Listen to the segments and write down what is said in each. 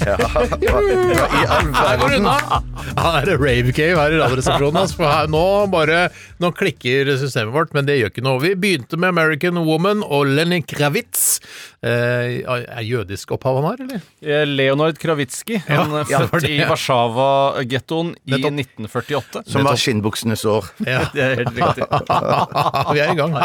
Her går det unna! Her er det rave cave her i Radioresepsjonen. Altså, for her, nå, bare, nå klikker systemet vårt, men det gjør ikke noe. Vi begynte med American Woman og Lenny Kravitz. Eh, er jødisk opphav han har, eller? Eh, Leonard Kravitski. Han Ja, er ja, det var født det, i ja. Warszawa-gettoen i Nettopp. 1948. Som var Nettopp. skinnbuksenes år. Ja. Det er helt riktig. Vi er i gang.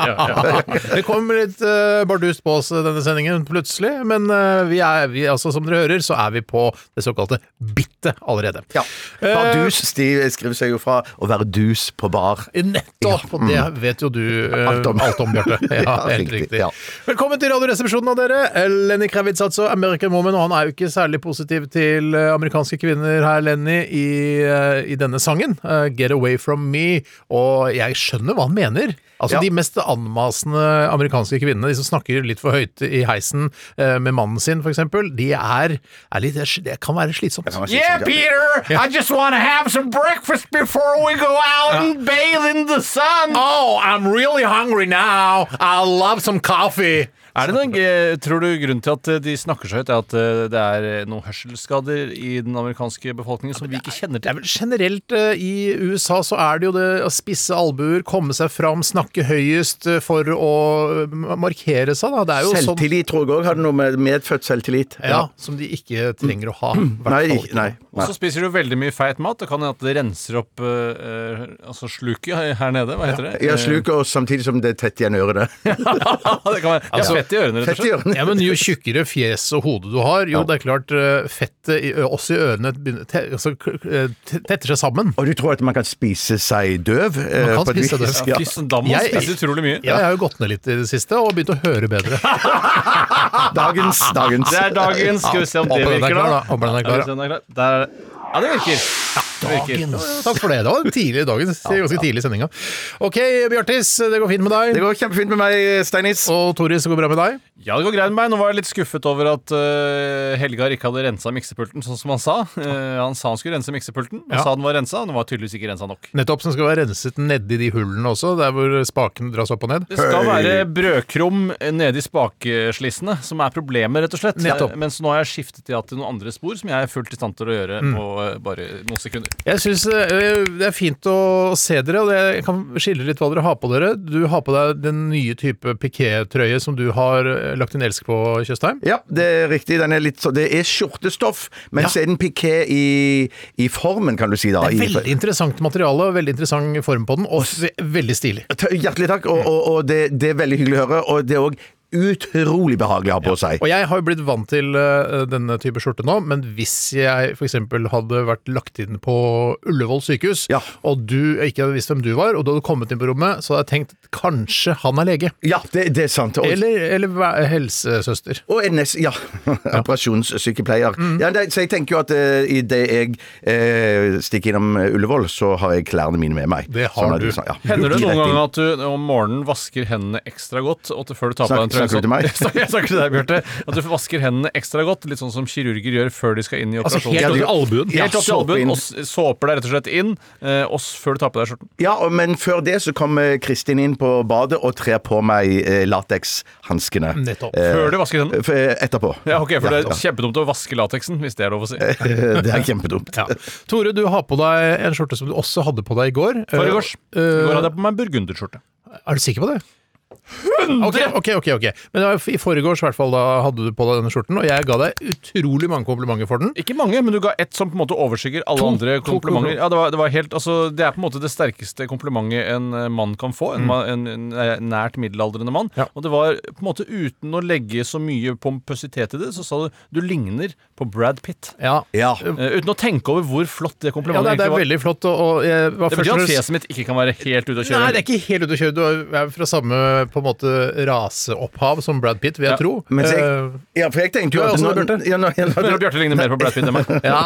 Det kom litt eh, bardust på oss eh, denne sendingen plutselig, men eh, vi er, vi, altså, som dere hører, så er vi på det såkalte bittet allerede. Ja. Eh, Bardus de skriver seg jo fra å være dus på bar. Nettopp! Og det vet jo du eh, Mm. Alt om. alt om, Bjarte. Ja, Ja, helt riktig, riktig. ja. Velkommen til Radioresepsjonen av dere. Lenny Kravitz, altså. American Woman. Og han er jo ikke særlig positiv til eh, amerikanske kvinner her, Lenny, i, eh, i denne sangen. eh, Get Away From Me. Og jeg skjønner hva han mener. Altså Ja. De mest anmasende amerikanske kvinnene, de som snakker litt for høyt i heisen eh, med mannen sin, f.eks., de er, er litt, det kan være slitsomt. Det var skikkelig Yeah, jævlig. Peter! I just wanna have some breakfast before we go out and bathe in the sun! Oh, I'm really hungry now. I love some coffee. Er det noen, eh, tror du grunnen til at eh, de snakker så høyt, er at eh, det er eh, noen hørselsskader i den amerikanske befolkningen som vi ikke kjenner Det er til? vel generelt eh, i USA så er det jo det å spisse albuer, komme seg fram, snakke høyest eh, for å eh, markere seg, da. Det er jo sånn Selvtillit tror jeg òg hadde noe med medfødt selvtillit. ja, som de ikke trenger å ha. i hvert Nei, fall ikke- nei. Og så spiser du veldig mye feit mat. Det kan hende at det renser opp eh, eh, altså sluket her nede. Hva heter det? Eh. Jeg sluker oss samtidig som det er tett igjen ørene. det kan være, ja, fett i ørene, rett og Tett i slett. ørene. Ja, men Jo tjukkere fjes og hode du har, jo det er klart eh, fettet i, ø- også i ørene begynner- te- altså, k- eh, te- tetter seg sammen. Og du tror at man kan spise seg døv? Man kan spise seg døv. Ja. Fy, Da må man Jeg- spise utrolig mye. Ja, jeg har jo gått ned litt i det siste og begynt å høre bedre. Dagens, dagens. Det er dagens. Skal vi se om det Håper den er virker, klar, da. da. Håper den er klar, Ja, hvis den er klar. Der. Ja, det virker. Det virker. Takk for det. Det var tidlig i dagen. Ganske tidlig i sendinga. Ok, Bjartis, det går fint med deg. Det går kjempefint med meg, Steinis. Og Toris, det går bra med deg? Ja, det går greit med meg. Nå var jeg litt skuffet over at eh, Helgar ikke hadde rensa miksepulten, sånn som han sa. Eh, han sa han skulle rense miksepulten, og Ja. sa den var rensa. Den var tydeligvis ikke rensa nok. Nettopp, som skal være renset nedi de hullene også, der hvor spakene dras opp og ned. Det skal være brødkrum eh, nede i spakslissene, som er problemet, rett og slett. Eh, Nettopp. Mens nå har jeg skiftet til at det er noen andre spor, som jeg er fullt i stand til å gjøre Mm. på eh, bare noen sekunder. Jeg syns det er fint å se dere, og det- jeg kan skille litt hva dere har på dere. Du har på deg den nye type pikétrøye som du har eh, lagt din elsk på, Tjøstheim. Ja, det er riktig. Den er litt så, det er skjortestoff, men Ja. så er den piké i, i formen, kan du si. da. Det er I- veldig interessant materiale, og veldig interessant form på den, og s- veldig stilig. T- Hjertelig takk, og, og, og det, det er veldig hyggelig å høre. Og det er òg utrolig behagelig å ha på seg. Og jeg har jo blitt vant til eh, denne type skjorte nå, men hvis jeg f.eks. hadde vært lagt inn på Ullevål sykehus, Ja. og du ikke hadde visst hvem du var, og du hadde kommet inn på rommet, så hadde jeg tenkt kanskje han er lege. Ja, det, det er sant. Og, Eller, eller væ- helsesøster. og en nes- ja, operasjonssykepleier. Ja, nei, så jeg tenker jo at eh, i idet jeg eh, stikker innom eh, Ullevål, så har jeg klærne mine med meg. Det har Sånn at du. sånn- ja. Hender det noen Direkte inn. ganger at du om morgenen vasker hendene ekstra godt og til før du tar på Snak- deg en trøye? snakker du til meg? sånn- Jeg snakker til deg, Bjarte. At du vasker hendene ekstra godt, litt sånn som kirurger gjør før de skal inn i Altså, operasjonen. helt opp til albuen. Helt opp til såpe inn. albuen, og s- såper deg rett og slett inn eh, og s- før du tar på deg skjorten. Ja, og, men før det så kommer Kristin inn på badet og trer på meg eh, latekshanskene. Nettopp. Før du vasker hendene. F- eh, Etterpå. Ja, ok, for Ja, Eh, Det er kjempedumt å vaske lateksen, hvis det er lov å si. ja. Det er kjempedumt. Ja. Tore, du har på deg en skjorte som du også hadde på deg i går. Foregårs. Eh, I eh, går hadde jeg på meg en burgunderskjorte. er du sikker på det? Mm. Ok, ok, ok. ok. Men det var i forgårs i hvert fall, da hadde du på deg denne skjorten, og jeg ga deg utrolig mange komplimenter for den. Ikke mange, men du ga ett som på en måte overskygger alle To. andre To komplimenter. komplimenter. Ja, det, var, det, var helt, altså, det er på en måte det sterkeste komplimentet en eh, mann kan få. En, ma- en, en eh, nært middelaldrende mann. Mm. Ja. Og det var på en måte uten å legge så mye pompøsitet i det, så sa du du ligner på Brad Pitt. Ja. Ja. Eh, uten å tenke over hvor flott det Ja, komplimentet det, er- det er egentlig var. veldig flott. Og, og jeg var først Det betyr og at fremst- fjeset mitt ikke kan være helt ute å Nei, kjøre. det er ikke helt ute å kjøre. Du er fra samme på en måte raseopphav som Brad Pitt, vil jeg tro. Men så jeg, Eh, ja, for jeg tenkte jo Ja, at hvordan nå- er det, Bjarte? ja, nå- ja, nå- Jeg tror Bjarte ligner mer på Brad Pitt enn meg. ja,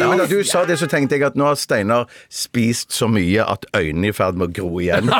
Nei, men da du sa det, så tenkte jeg at nå har Steinar spist så mye at øynene er i ferd med å gro igjen.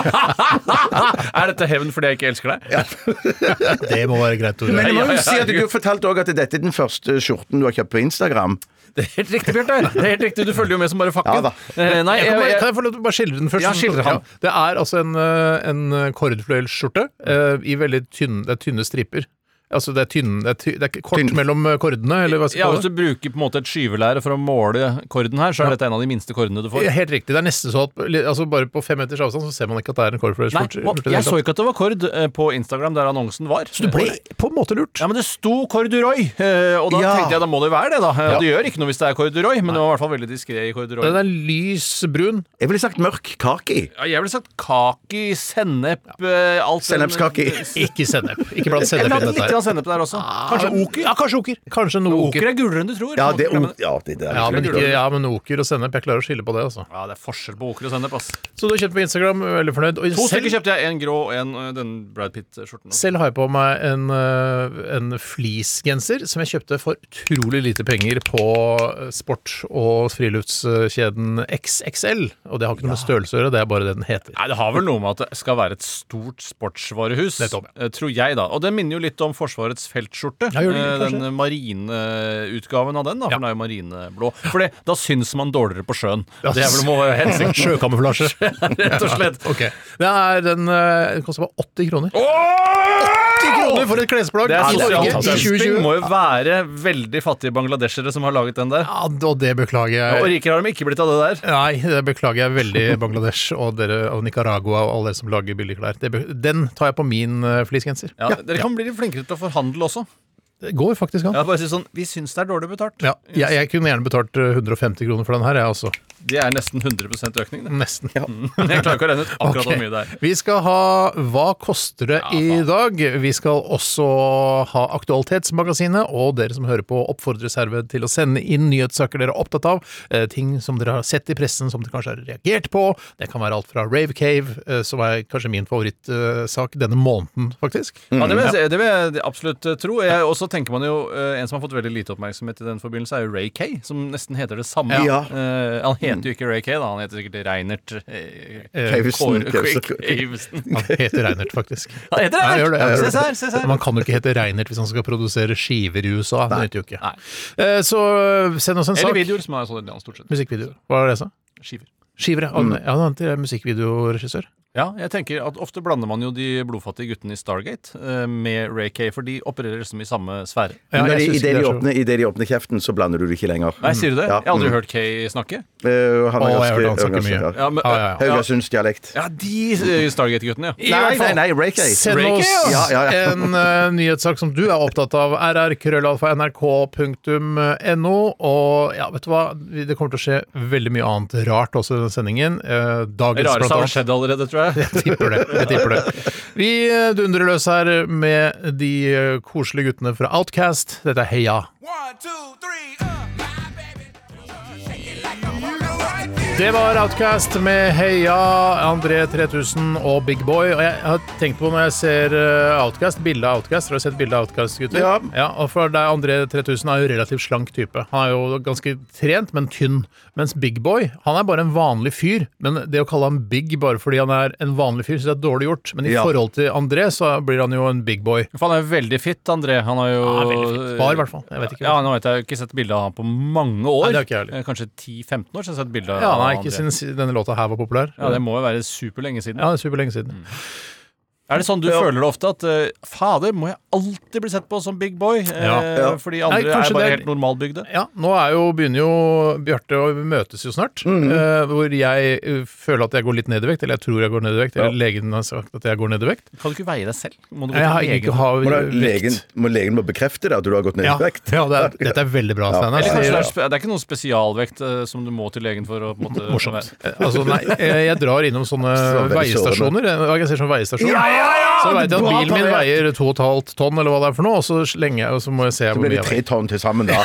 er dette hevn fordi jeg ikke elsker deg? det må være greit, Tore. Men jeg må Ja, ja, jo ja, si at du herregud. fortalte òg at dette er den første skjorten du har kjøpt på Instagram. Det er helt riktig, Bjarte. Det er helt riktig. Du følger jo med som bare Ja fakken. da. Eh, Nei, Jeg kan, bare, jeg, kan jeg få lov til å bare skildre den først? Ja, Sånn- skildre han. Det er altså en, eh, en kordfløyelsskjorte eh, i veldig tynne, det er tynne striper. Altså det er, tynne, det er, ty, det er kort Tynn. mellom eh, kordene, eller hva skal ja, jeg kalle altså, hvis du bruker på en måte et skyvelære for å måle korden her, så er dette en av de minste kordene det? du får. Helt riktig. Det er nesten så at li- altså Bare på fem meters avstand så ser man ikke at det er en Nei, kordfløyelsskjorte. og jeg så ikke at det var kord eh, på Instagram der annonsen var. Så ble på en måte lurt. Ja, men det sto corduroy, eh, og da Ja. tenkte jeg da må det jo være det, da. Eh, Ja. Det gjør ikke noe hvis det er corduroy, men det var i hvert fall veldig diskré i corduroy. Den er lys brun. Jeg ville sagt mørk kaki. Ja, jeg ville sagt kaki, sennep, eh, alt Sennepskaki. Ikke sennep. Ikke blant Eller sennep i hadde dette litt her. grann sennep der også. Kanskje oker? Ja, kanskje oker. Kanskje noe oker. Oker er gulere enn du tror. Ja, det, Oker er- er- ja, det, det er Ja, men litt ikke, kult. ja, men oker og sennep. Jeg klarer å skille på det, altså. ja, det er forskjell på oker og sennep, ass. Så du har kjøpt på Instagram, veldig fornøyd. Og To selv- stykker kjøpte jeg, en grå og en eh, den Brad Pitt-skjorten. Selv har jeg på meg en, eh, en fleecegenser som jeg kjøpte for utrolig lite penger på eh, sport- og friluftskjeden XXL. Og det har ikke noe med størrelse å gjøre, det er bare det den heter. Nei, Det har vel noe med at det skal være et stort sportsvarehus, Nettopp, eh, tror jeg, da. Og den minner jo litt om Forsvarets feltskjorte. Ja, gjør det, Eh, kanskje. den marineutgaven av den, da, for Ja. den er jo marineblå. For det, da syns man dårligere på sjøen. Det er vel må være hensikten, Sjøkamuflasje. rett og slett. Ok. Den, er, den eh, koster bare 80 kroner. kroner for et klesplagg! Det i er sosial Norge i dumping. 2020. Må jo være veldig fattige bangladeshere som har laget den der. Ja, og det beklager Og jeg. rikere har de ikke blitt av det der. Nei, det beklager jeg veldig, Bangladesh og, dere, og Nicaragua og alle dere som lager billige klær. Det be- Den tar jeg på min uh, fleecegenser. Ja, dere kan bli litt flinkere til å forhandle også. Det går faktisk an. Ja, bare si sånn, Vi syns det er dårlig betalt. Ja, jeg, jeg kunne gjerne betalt eh, 150 kroner for den her, jeg også. Det er nesten 100 økning. det. Nesten. Jeg klarer ikke å regne ut akkurat Ok. hvor mye det er. Vi skal ha Hva koster det i dag? Vi skal også ha Aktualitetsmagasinet, og dere som hører på, oppfordres herved til å sende inn nyhetssaker dere er opptatt av, eh, ting som dere har sett i pressen som dere kanskje har reagert på. Det kan være alt fra Rave Cave, eh, som er kanskje min favorittsak denne måneden, faktisk. Ja, det, vil jeg, si- det vil jeg absolutt eh, tro. Jeg, og så tenker man jo, eh, En som har fått veldig lite oppmerksomhet i den forbindelse, er jo Ray Kay, som nesten heter det samme. Ja. Eh, han heter jo ikke Ray Kay, da. han heter sikkert Reinert eh, Kavesen, Kåre- Kavesen. Kåre- Kavesen. Han heter Reinert, faktisk. Han heter Ja, Reinert! jeg gjør det, jeg gjør det. Se her, se her. Man kan jo ikke hete Reinert hvis han skal produsere skiver i USA. Det nytter jo ikke. Nei. Eh, Så eh, send oss en Eller sak. videoer, som er sånn stort sett. Musikkvideo. Hva var det jeg sa? Skiver. Skiver, ja. Mm. ja han er musikkvideoregissør. Ja, jeg tenker at Ofte blander man jo de blodfattige guttene i Stargate eh, med Ray Kay, for de opererer liksom i samme sfære. Ja, Når de, jeg synes i, det ikke de er så- åpner, I det de åpner kjeften, så blander du det ikke lenger. Nei, sier du det? Ja. Jeg har aldri Mm. hørt Kay snakke. Eh, han Å, er jeg ganske- hørte han snakke ganske- mye. ja. Ja, men, Ja, ja, ja. Haugesundsdialekt. Ja, de eh, Stargate-guttene, ja. Nei, nei, nei, Reiki. Send Break oss it, ja. Ja, ja, ja. en eh, nyhetssak som du er opptatt av, rr.krøllalfa.nrk.no. Og ja, vet du hva, Vi- det kommer til å skje veldig mye annet rart også i denne sendingen. Eh, Det Dagens blant rareste har annet. vel skjedd allerede, tror jeg. Jeg tipper det. Jeg tipper det. Vi eh, dundrer løs her med de eh, koselige guttene fra Outcast. Dette er Heia. Det var Outcast med Heia, André 3000 og Big Boy. Og jeg har tenkt på når jeg ser eh, Outcast, bildet av Outcast. Har du sett bildet av Outcast, gutter? Ja. og for deg, André 3000 er jo relativt slank type. Han er jo ganske trent, men tynn. Mens Big Boy, han er bare en vanlig fyr. Men det å kalle han Big bare fordi han er en vanlig fyr, så det er dårlig gjort. Men i Ja. forhold til André, så blir han jo en Big Boy. For han er jo veldig fit, André. Han har jo Var, i hvert fall. Jeg vet ikke. Ja, nå vet jeg jeg har ikke sett bilde av han på mange Nei, år. det har ikke jeg heller. Eh, Kanskje 10-15 år siden jeg har sett bilde av Ja, nei, ikke André. siden denne låta her var populær. Ja, det Mm. må jo være superlenge siden. Ja, det er superlenge siden. Er det sånn du føler det ofte at eh, fader, må jeg alltid bli sett på som big boy? Eh, Ja. Ja. Fordi andre Nei, kanskje er bare det er- helt normalbygde? Ja, nå er jo, begynner jo Bjarte og vi møtes jo snart. Mm. eh, hvor jeg eh, føler at jeg går litt ned i vekt, eller jeg tror jeg går ned i vekt, eller legen har sagt at jeg går ned i vekt. Kan du ikke veie deg selv? Må du gå Jeg har til ikke legen? har Må da, vekt. legen, må legen må bekrefte det, at du har gått ned i ja, vekt? ja det er, dette er veldig bra, Steinar. Eller kanskje sier- det, er, sånn spe- det er ikke noen spesialvekt eh, som du må til legen for å på en måte Morsomt. Eh, Altså, nei, eh, jeg drar innom sånne Så veldig sånn. veistasjoner. eh, Jeg ser sånn veistasjon. Så veit jeg at Bra bilen min parert. veier 2,5 tonn, eller hva det er for noe, og så slenger jeg, og så må jeg se Så hvor mye blir jeg det tre veier. tonn til sammen, da.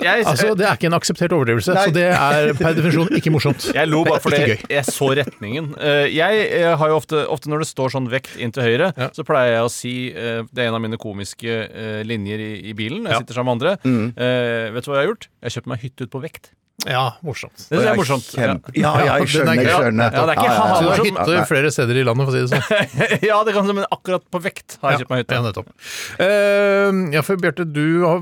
Jeg, Altså, Det er ikke en akseptert overdrivelse, Nei. så det er per definisjon ikke morsomt. Jeg lo bare fordi Ikke jeg, gøy. jeg så retningen. Eh, Jeg eh, har jo ofte, ofte når det står sånn vekt inn til høyre, så pleier jeg å si eh, Det er en av mine komiske eh, linjer i, i bilen. når Jeg sitter sammen med andre. Mm. Eh, Vet du hva jeg har gjort? Jeg har køpt meg hytte ut på vekt. Ja, morsomt. Det synes jeg er morsomt. Kjempe- Ja, Ja, ja, jeg den er skjønner. jeg gøy. skjønner. Ja, det er ikke ja, Så du har morsomt. hytte flere steder i landet, for å si det sånn. Ja, ja det kan, men akkurat på vekt har jeg kjøpt meg hytte. Ja, nettopp. Eh, ja, for Bjarte, du, har,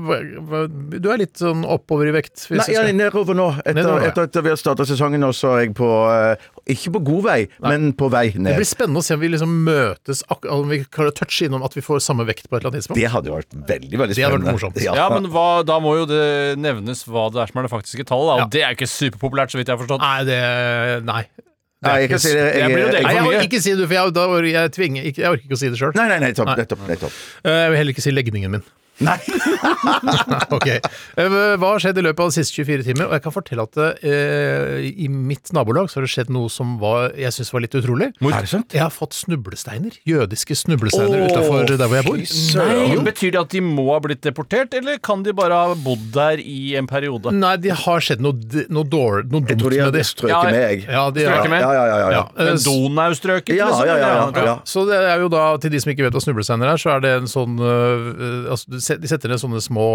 du er litt sånn oppover i vekt. hvis Nei, jeg ja, skal- nedover nå. Etter, Nedover, ja. etter at vi har starta sesongen nå, så er jeg på eh, Ikke på god vei, men på vei Det ned. blir spennende å se om vi liksom møtes ak- Om vi klarer å touche innom at vi får samme vekt på et eller annet tidspunkt. Det hadde vært veldig, veldig spennende. Det hadde vært morsomt. Ja. Ja, men hva, Da må jo det nevnes hva det er som er det faktiske tallet. da, Ja. Og det er jo ikke superpopulært, så vidt jeg har forstått. Nei, det Nei. Nei, jeg kan si det. Jeg blir jo delt Nei, jeg for mye. orker ikke si det, for jeg, da, orker jeg, tvinger, ikke, jeg orker ikke å si det sjøl. Nei, nei, nettopp. nettopp, nettopp. Jeg vil heller ikke si legningen min. Nei. Ok. Eh, Hva har skjedd i løpet av de siste 24 timer? Og jeg kan fortelle at eh, i mitt nabolag så har det skjedd noe som var, jeg syns var litt utrolig. Er det sant? Jeg har fått snublesteiner. Jødiske snublesteiner utafor der hvor jeg bor. Nei, Betyr det at de må ha blitt deportert, eller kan de bare ha bodd der i en periode? Mm. Nei, det har skjedd noe, d- noe, dårlig, noe Jeg dumt tror de med hadde det. Ja, strøket med, jeg. Ja, de, Strøket med? Ja, ja, ja. ja, ja. Ja. Men Donaustrøket? Eh, Ja, liksom, ja, ja, ja, eller? ja. Så det er jo da, til de som ikke vet hva snublesteiner er, så er det en sånn øh, øh, altså, du set- De setter ned sånne små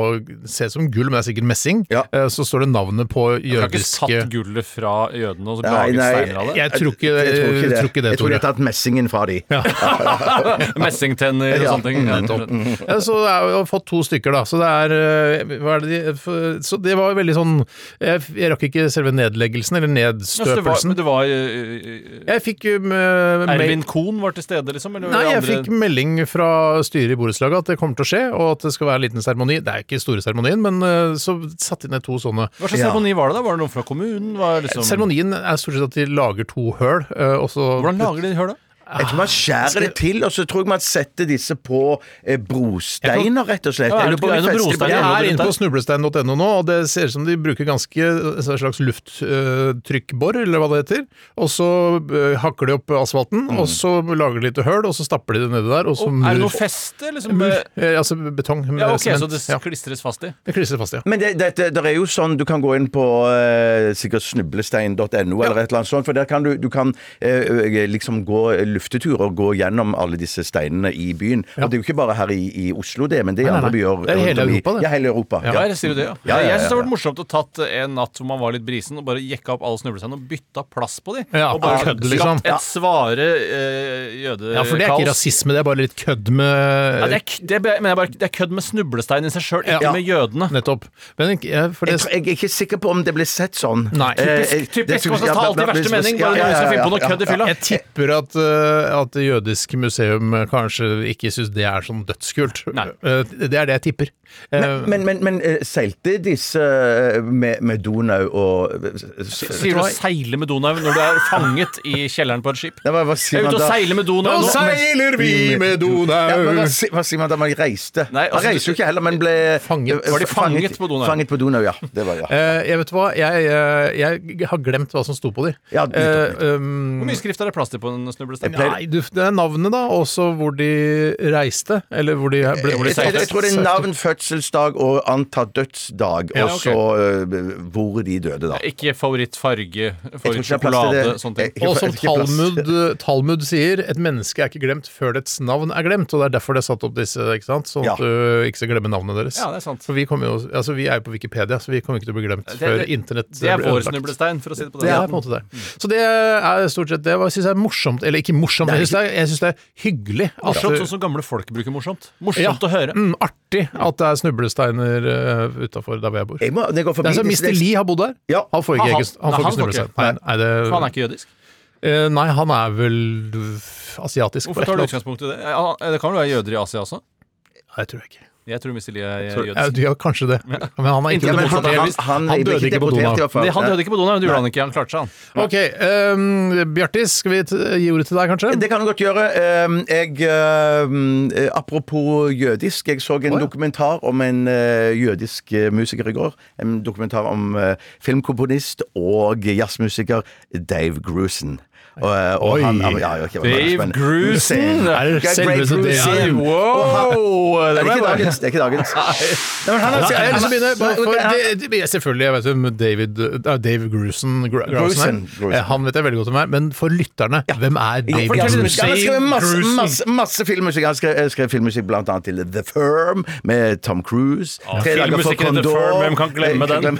Ser ut som gull, men det er sikkert messing. Ja. Eh, så står det navnet på Du har ikke jødiske tatt gullet fra jødene og så Nei, laget nei. steiner av det? Jeg tror ikke, Jeg tror ikke det. tror ikke det, jeg tror de Tore. har tatt messingen fra de. Messingtenner og Ja. sånne ting. Ja, nettopp. Ja, så jeg har jo fått to stykker, da. Så det er øh, hva er det de, f- Så det var veldig sånn Jeg, jeg rakk ikke selve nedleggelsen, eller Ja, så det var, nedstøpelsen. men det var eh, eh, Jeg fikk jo øh, mail- Ervin Kohn var til stede, liksom? Eller Nei, jeg andre- fikk melding fra styret i borettslaget at det kommer til å skje, og at det skal være en liten seremoni. Det er ikke store seremonien, men eh, så satte de ned to sånne. Hva slags Ja. seremoni var det? da? Var det noe fra kommunen? Var det liksom... Seremonien er stort sett at de lager to høl, eh, og så Hvordan lager de høl, da? Jeg tror man skjærer det til, og så tror jeg man setter disse på eh, brosteiner, rett og slett. Ja, er det Jeg lurer på ikke- om er de det noen fester Jeg brosteiner? på- er inne på snublestein.no nå, og det ser ut som de bruker ganske en slags lufttrykk-bor, eller hva det heter. Og så eh, hakker de opp asfalten, og så lager de litt høl, og så stapper de det nedi der, og så Mm. er mur. det noe feste? Liksom? Mur, med- eh, altså betong. med Ja, ok, sement. Så det Ja, klistres fast i? det klistrer fast, ja. Men det, dette- der er jo sånn, du kan gå inn på eh, sikkert snublestein.no eller et eller annet sånt, for der kan du, du kan eh, ø- liksom gå luftetur og gå gjennom alle disse steinene i byen. Og det er jo ikke bare her i, i Oslo det, men det er i Nei, nei, andre nei. byer. Det er i hele rundt om i- Europa, det. Ja, hele Europa. Ja, jeg sier jo det, ja. Ja, ja, ja, Jeg syns det hadde ja. vært morsomt å tatt eh, en natt hvor man var litt brisen, og bare jekka opp alle snublesteiner og bytta plass på de. Ja, og bare ja, skapt liksom. et svare eh, jødekaos. Ja, for det er ikke rasisme, det er bare litt kødd med Ja, det, er, k- det, be- mener jeg bare, det er kødd med snublestein i seg sjøl, ikke Ja. med jødene. Nettopp. Men ikke- ja, for Jeg, det, tror, jeg er ikke sikker på om det ble sett sånn. Nei. Typisk- jeg- det typisk, synes- man skal ja, ta alt i bla- bla- verste bla- mening, ja, bare ja, noen skal ja, finne på noe ja, kødd i ja. fylla. jeg tipper at, eh, at det jødiske museum eh, kanskje ikke syns det er sånn dødskult. Nei. Eh, det er det jeg tipper. Eh, Men, men, men eh, seilte disse eh, med, med Donau og eh, Sier du å seile med Donau når du er fanget i kjelleren på et skip? Nei, hva, hva Jeg sier er man ute og da? seiler med Donau Nå nå. seiler vi med Ja, men hva, Donau! si- hva sier man da man reiste? Nei, altså, man reiser jo ikke heller, men ble Fanget. eh, Var de fanget på Donau? Fanget på Donau, ja. Det var ja. Eh, jeg vet hva, jeg, eh, jeg har glemt hva som sto på de. Ja, nettopp, nettopp. Eh, um, Hvor mye skrift er det plass til på en snublestein? pleier- Nei, du, det er navnet, da. Også hvor de reiste. Eller hvor de ble Jeg, jeg, jeg tror det er navn, fødselsdag og antatt dødsdag, Ja, og ok. så eh, hvor de døde, da. Ikke favorittfarge, Jeg tror ikke det er plass til favorittsjokolade, det. sånne ting. Jeg- Og som jeg- jeg- Talmud, Talmud sier, et menneske er ikke glemt før dets navn er glemt. Og det er derfor det er satt opp disse, ikke sant? sånn Ja. at du ikke skal glemme navnet deres. Ja, det er sant. For vi, kommer jo, altså, vi er jo på Wikipedia, så vi kommer ikke til å bli glemt før internett Det er blir vår Mm. ødelagt. snublestein, for å si det på Det den er på en måte det. Så det er stort sett det. Jeg syns det er morsomt, eller ikke morsomt, jeg syns det, er- jeg synes det er hyggelig. at Morsomt, du- sånn som gamle folk bruker morsomt. Ja. Morsomt å høre. Mm, artig at det er snublesteiner uh, utafor der hvor jeg bor. Jeg må, når jeg går forbi Det er altså som disse- Mr. Lee har bodd der. Ja. Han får Han- ikke, ikke, han nei, får han ikke får ikke. snublestein. Nei, nei, det, For han er ikke jødisk. Eh, nei, han er vel øh, asiatisk. Hvorfor på et tar du eller annet- utgangspunkt i det? Ja, Det kan vel være jøder i Asia også? Nei, tror jeg ikke. Jeg tror Missili er Ja, jødisk. du, ja, kanskje det. Men han er ikke Ja, men han, deportert. han, han, Han ble døde ikke på deportert, Donau. i hvert fall. Nei, han døde ikke på Donau, men det gjorde han ikke. Han klarte seg, han. Ok, um, Bjartis, skal vi t gi ordet til deg, kanskje? Det kan du godt gjøre. Ehm, Jeg, ehm, eh, apropos jødisk, jeg så en dokumentar om en eh, jødisk eh, musiker i går. En dokumentar om eh, filmkomponist og jazzmusiker Dave Grusin. Og, og Oi. han, ja, ja, ikke- Dave men- Grusin! Hussein. Er det Greg selveste Grusin. Dave? Wow! Det Det er var ikke bra. dagens. Det er ikke dagens. Nei, men han Ja, jeg har lyst til å begynne. Så- bare For, ok, han- det, det, jeg- selvfølgelig, jeg vet hvem David, eh, Dave Grusen, Gr- Grusen, Grusin, er. Grusin. Eh, Han vet jeg veldig godt hvem er, men for lytterne, hvem er Ja, David for det er Grusin? musikk. Han har skrevet masse, Grusin. masse, masse filmmusikk. Han skrev, skrev filmmusikk blant annet til The Firm med Tom Cruise. Ja, filmmusikken til The Firm, hvem kan glemme den?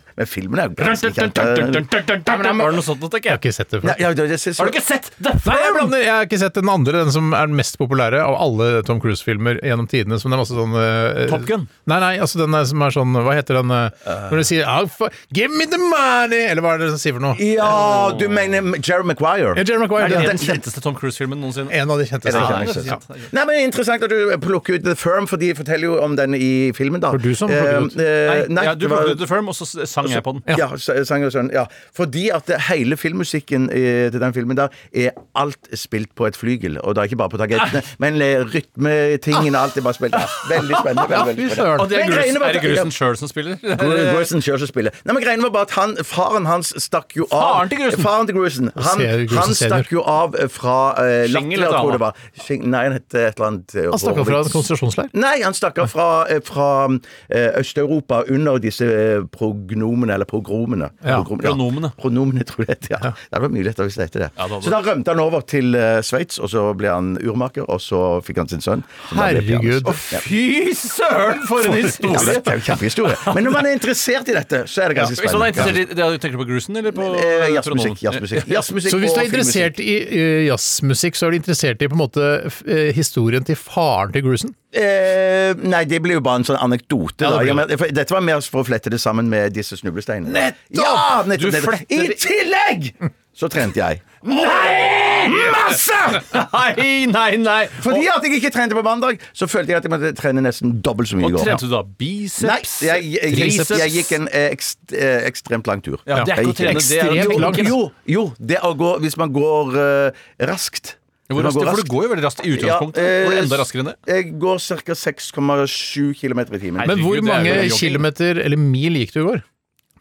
Men filmen er jo ganske kjent. Var det noe sånt, tenker Jeg har jeg? ikke sett det før. Nei, ja, det- det- Har du ikke sett Nei, The jeg Firm? blander. Jeg har ikke sett den andre, den som er den mest populære av alle Tom Cruise-filmer gjennom tidene. Som det er masse sånn eh, Top Gun? Nei, nei, altså den der som er sånn Hva heter den eh, Når du sier «Ah, fu- 'Give me the money', eller hva er det den sier for noe? Ja, du mener Jerry Maguire. Ja, Jerry Maguire. Er det den- den kjenteste Tom Cruise-filmen noensinne? En av de Er det kjenteste. ikke Ja, han? det er ja. sant. Nei, men Interessant at du plukker ut The Firm, for de forteller jo om den i filmen. da Var det du som plukket ut? Eh, eh, Nei, ja, det du var- plukket ut The Firm, og så s- sang jeg på den. Ja, s- sang og sånn. Ja. Fordi at det- hele filmmusikken eh, til den filmen der er alt spilt på et flygel. Og da ikke bare på Ah. targetene, men eh, rytmetingene alt er bare spilt. Ja, veldig spennende. Veldig, veldig fy spennende. søren. Og det er Men greiene Grusen, var- er det Grusen sjøl som spiller? Gru- Grusen kjører som spiller. Nei, men greiene var bare at han, Faren hans stakk jo Faren av til Grusen? Faren til Grusen. Han, Ser Grusen han senior. stakk jo av eh, fra eh, Schingel, Latvia, heter han, tror da. jeg det var. Sching- Nei, han het et eller annet eh, Han stakk av fra en Horowitz. konsentrasjonsleir. Nei, han stakk av fra, eh, fra eh, Øst-Europa under disse eh, prognomene, eller pogromene. Ja, Pogrom- pronomene. Pronomene, tror jeg det heter. Ja. Det hadde vært mye lettere hvis det het det. Ja, det hadde så da rømte han over til eh, Sveits, og så ble han urmaker, og så fikk han sin sønn. som da ble pianist. Herregud. Og Fy søren, for en Ja, men historie! det er jo kjempehistorie. Men når man er interessert i dette, så er det ganske Hvis man er spennende. interessert i det, Tenker du på Grusen eller på Eh, Tronomen? Jazzmusikk. jazzmusikk, jazzmusikk Så hvis du og er interessert i eh, jazzmusikk, så er du interessert i på en måte f- eh, historien til faren til Grusen? Eh, nei, det ble jo bare en sånn anekdote. Ja, det da. ble Ja, men, for, dette var mer for å flette det sammen med disse snublesteinene. Nettopp! Ja, Du nettopp, nettopp. fletter- I tillegg så trente jeg. Masse! Nei, nei, nei! Fordi at jeg ikke trente på mandag, så følte jeg at jeg måtte trene nesten dobbelt så mye. i Og går. trente du da Nei, biceps? jeg, jeg, jeg, triceps? jeg gikk en eh, ekst, eh, ekstremt lang tur. Ja, det er Jeg ikke å gikk en trene, det er ekstremt langt. Jo, jo, det å gå Hvis man går eh, raskt Hvor Hvis man raskt, for du går jo veldig raskt i utgangspunktet. Ja, eh, Går du enda raskere enn det? Jeg går ca. 6,7 km i timen. Men hvor Herregud, det er mange jo jogging. kilometer eller mil gikk du i går?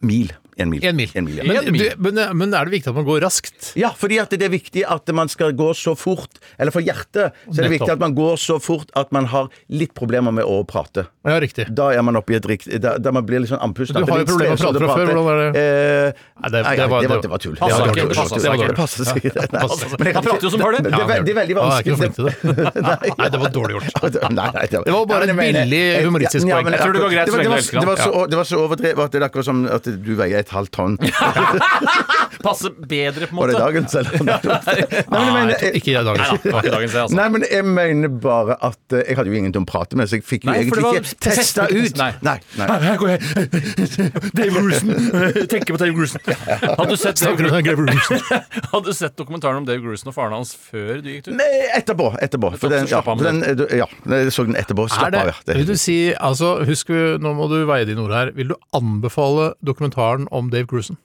Mil. En mil. En mil. En mil, ja. Men, En mil. du, men, men er det viktig at man går raskt? Ja, fordi at det er viktig at man skal gå så fort Eller for hjertet så er det Nettopp. viktig at man går så fort at man har litt problemer med å prate. Ja, riktig. Da er man oppe i et rikt Da, da man blir litt sånn andpusten. Du har jo problemer med å prate fra før, hvordan er det? Nei, det- Eh, Nei, det det var- var, det var- det var tull. Passer Det var ikke, tull. det passer Det var ikke. tull. Det passer ikke. passer Nei, ikke. men jeg- Han prater jo som bare det. Det, er ve- det er veldig Ja, jeg er ikke vanskelig. flink til det. Nei, det var dårlig gjort. Nei, nei, Det var bare Nei, et men jeg mener- billig Ja, humoristisk ja, poeng. men Jeg tror det går greit var- så lenge var- du elsker han. det var så- Det var så overdrevet at det er akkurat som at du veier et halvt tonn. Passe bedre, på en Var det måte. dagens, eller? Nei, Nei, men jeg jeg tror mener- ikke i dag. Nei da, det var ikke dagens, det, altså. Nei, men jeg mener bare at eh, jeg hadde jo ingen til å prate med, så jeg fikk jo Nei, for det egentlig var ikke testa test- ut. Nei. Nei, nei. Her går jeg. Dave Grusen. Tenker på Dave Grusen. Hadde du sett, Dave Grusen- hadde du sett dokumentaren om Dave Grusen og faren hans før du gikk tur? Nei, eh, Etterpå. etterpå for Nettopp, så den, ja, slapp av for med den, eh, du- ja, jeg så den etterpå. Er Slapp det, av, ja. Det er vil du si, altså, husk, nå må du veie dine ord her. Vil du anbefale dokumentaren om Dave Grusen?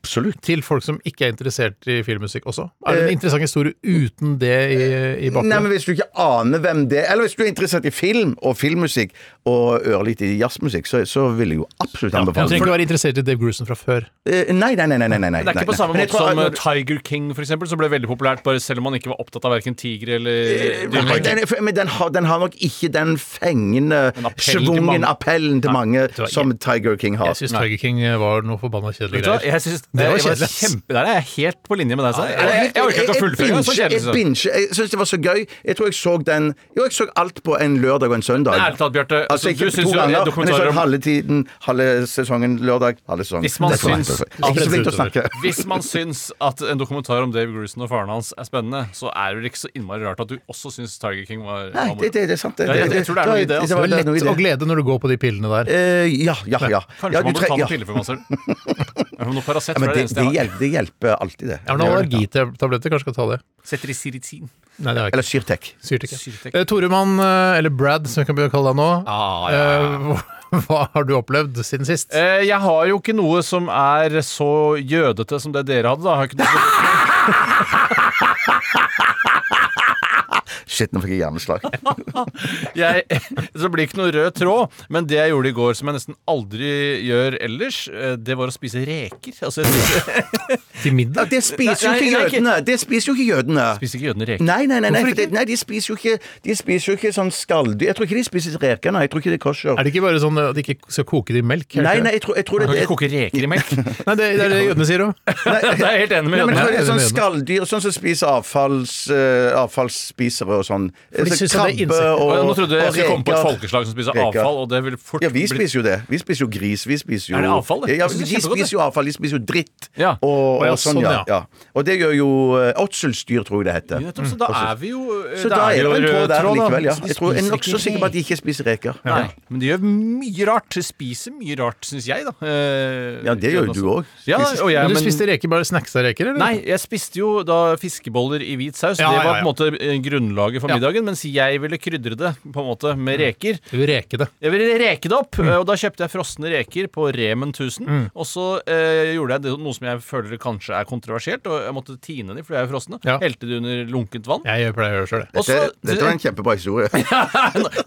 absolutt. Til folk som ikke er interessert i filmmusikk også? Er det en interessant historie uten det i, i Nei, men bakgrunnen? Hvis du ikke aner hvem det er, eller hvis du er interessert i film og filmmusikk, og ørlite i jazzmusikk, så, så vil jeg jo Du absolutt trenger anbefale ikke den. være interessert i Dave Grusen fra før. Eh, Nei, nei, nei. nei, nei, nei, nei. Det er ikke på samme Men jeg måte tror- som eh, Tiger King, for eksempel, som ble veldig populært bare selv om man ikke var opptatt av verken tigre eller Nei, dyrepark. den, er- Eh, men den har, den har nok ikke den fengende, En appell til schwungen mange. appellen til mange tror jeg som Tiger King har. Jeg syns Tiger King var noe forbanna kjedelig Vet du hva? greier. Jeg synes, Det var jeg kjedelig, ass. Kjempe, der er jeg helt på linje med deg. Sara. Jeg- Jeg, jeg orker ikke å fullføre. det er Så Jeg, kjedelig. binge- synes altså, jeg, jeg. binge- jeg syns det var så gøy. Jeg tror jeg så den Jo, jeg så alt på en lørdag og en søndag. Ærlig talt, Bjarte. Altså, Altså, ikke du to syns jo ganger, men jeg så dokumentarer om halve tiden, halve sesongen lørdag, halve sesongen Hvis man Dette var syns helt perfekt. at- Ikke så flink til å snakke. Hvis man syns at en dokumentar om Dave Grusen og faren hans er spennende, så er det vel ikke så innmari rart at du også syns Tiger King var Nei, var moro. det, det, det er sant. Det, Ja, jeg- jeg tror det er noe i det, altså. Det var var- det er noe i lett å det. glede når du går på de pillene der. Eh, ja, ja, ja. Kanskje ja, du man burde tre- ta ja. noen piller før man ser den. Ja, men Noe Paracet for Ja, men det er det, det eneste det, jeg har. hjelper, det hjelper alltid, det. Er det noen allergitabletter? Kanskje skal ta det? Cetirizin. Nei, det har jeg ikke. Eller Syrtec. Syrt ikke. Syrtek. Eh, Toremann, eh, eller Brad, som vi kan begynne å kalle deg nå. Ah, ja, ja, Eh, hva- Hva har du opplevd siden sist? Eh, Jeg har jo ikke noe som er så jødete som det dere hadde, da. Jeg Har ikke noe... Shit, nå fikk jeg hjerneslag. jeg, så det blir ikke noe rød tråd, men det jeg gjorde i går som jeg nesten aldri gjør ellers, eh, det var å spise reker. Altså, jeg spiser, Til Ja, middag? det spiser jo Nei, ikke nei, ikke- jødene! Det spiser jo ikke jødene. spiser ikke jødene reker. Nei, nei, nei, nei, for det, nei de, spiser jo ikke, de spiser jo ikke sånn skalldyr. Jeg tror ikke de spiser reker, nei. Jeg tror ikke det er kosher. Er det ikke bare sånn at de ikke skal koke det i melk? er det Nei, ikke nei, jeg tror, jeg tror det Man kan det- ikke koke reker i melk. Det Nei, det, det er det jødene sier òg. er jeg helt enig med Nei, jødene. men jeg tror det er Jeg sånn er enig med jødene. skalldyr, sånn som spiser avfalls, eh, avfallsspisere og sånn. de Så synes at det er insekter. Og Nå trodde jeg jeg skulle komme på et reker. folkeslag som spiser reker. avfall, og det ville fort Ja, vi blitt- spiser jo det. Vi spiser jo gris. Vi spiser jo Er det avfall, det? Ja, Jeg synes det de er kjempegodt, spiser jo avfall. De spiser jo dritt. Ja. Og, Å, ja, og sånn, sånn, ja. ja. ja. Og det gjør jo eh, åtselsdyr, tror jeg det heter. Nettopp, så da Eh, er vi jo Mm. Så da er det en tråd der likevel, ja. Så de Jeg tror jeg er spiser nokså ikke sikker på at de ikke spiser reker. Nei, men de gjør mye rart. De spiser mye rart, syns jeg, da. Eh, Ja, det gjør jo også. du òg. Ja, og jeg, Men du men, spiste reker, bare snacksa reker, eller? Nei, jeg spiste jo da fiskeboller i hvit saus. Ja, det ja, var ja. på en måte eh, grunnlaget for Ja. Mm. middagen, mens jeg ville krydre det på en måte med reker. Du reke det. Jeg ville reke det Mm. opp, eh, og da kjøpte jeg frosne reker på Remen 1000. Og så eh, gjorde jeg det, noe som jeg føler kanskje er kontroversielt, og jeg måtte tine de, for de er jo frosne. Ja. Helte de under lunkent vann. Jeg gjør- pleier å gjøre sjøl, det. Og så- Dette, dette var en kjempebra historie.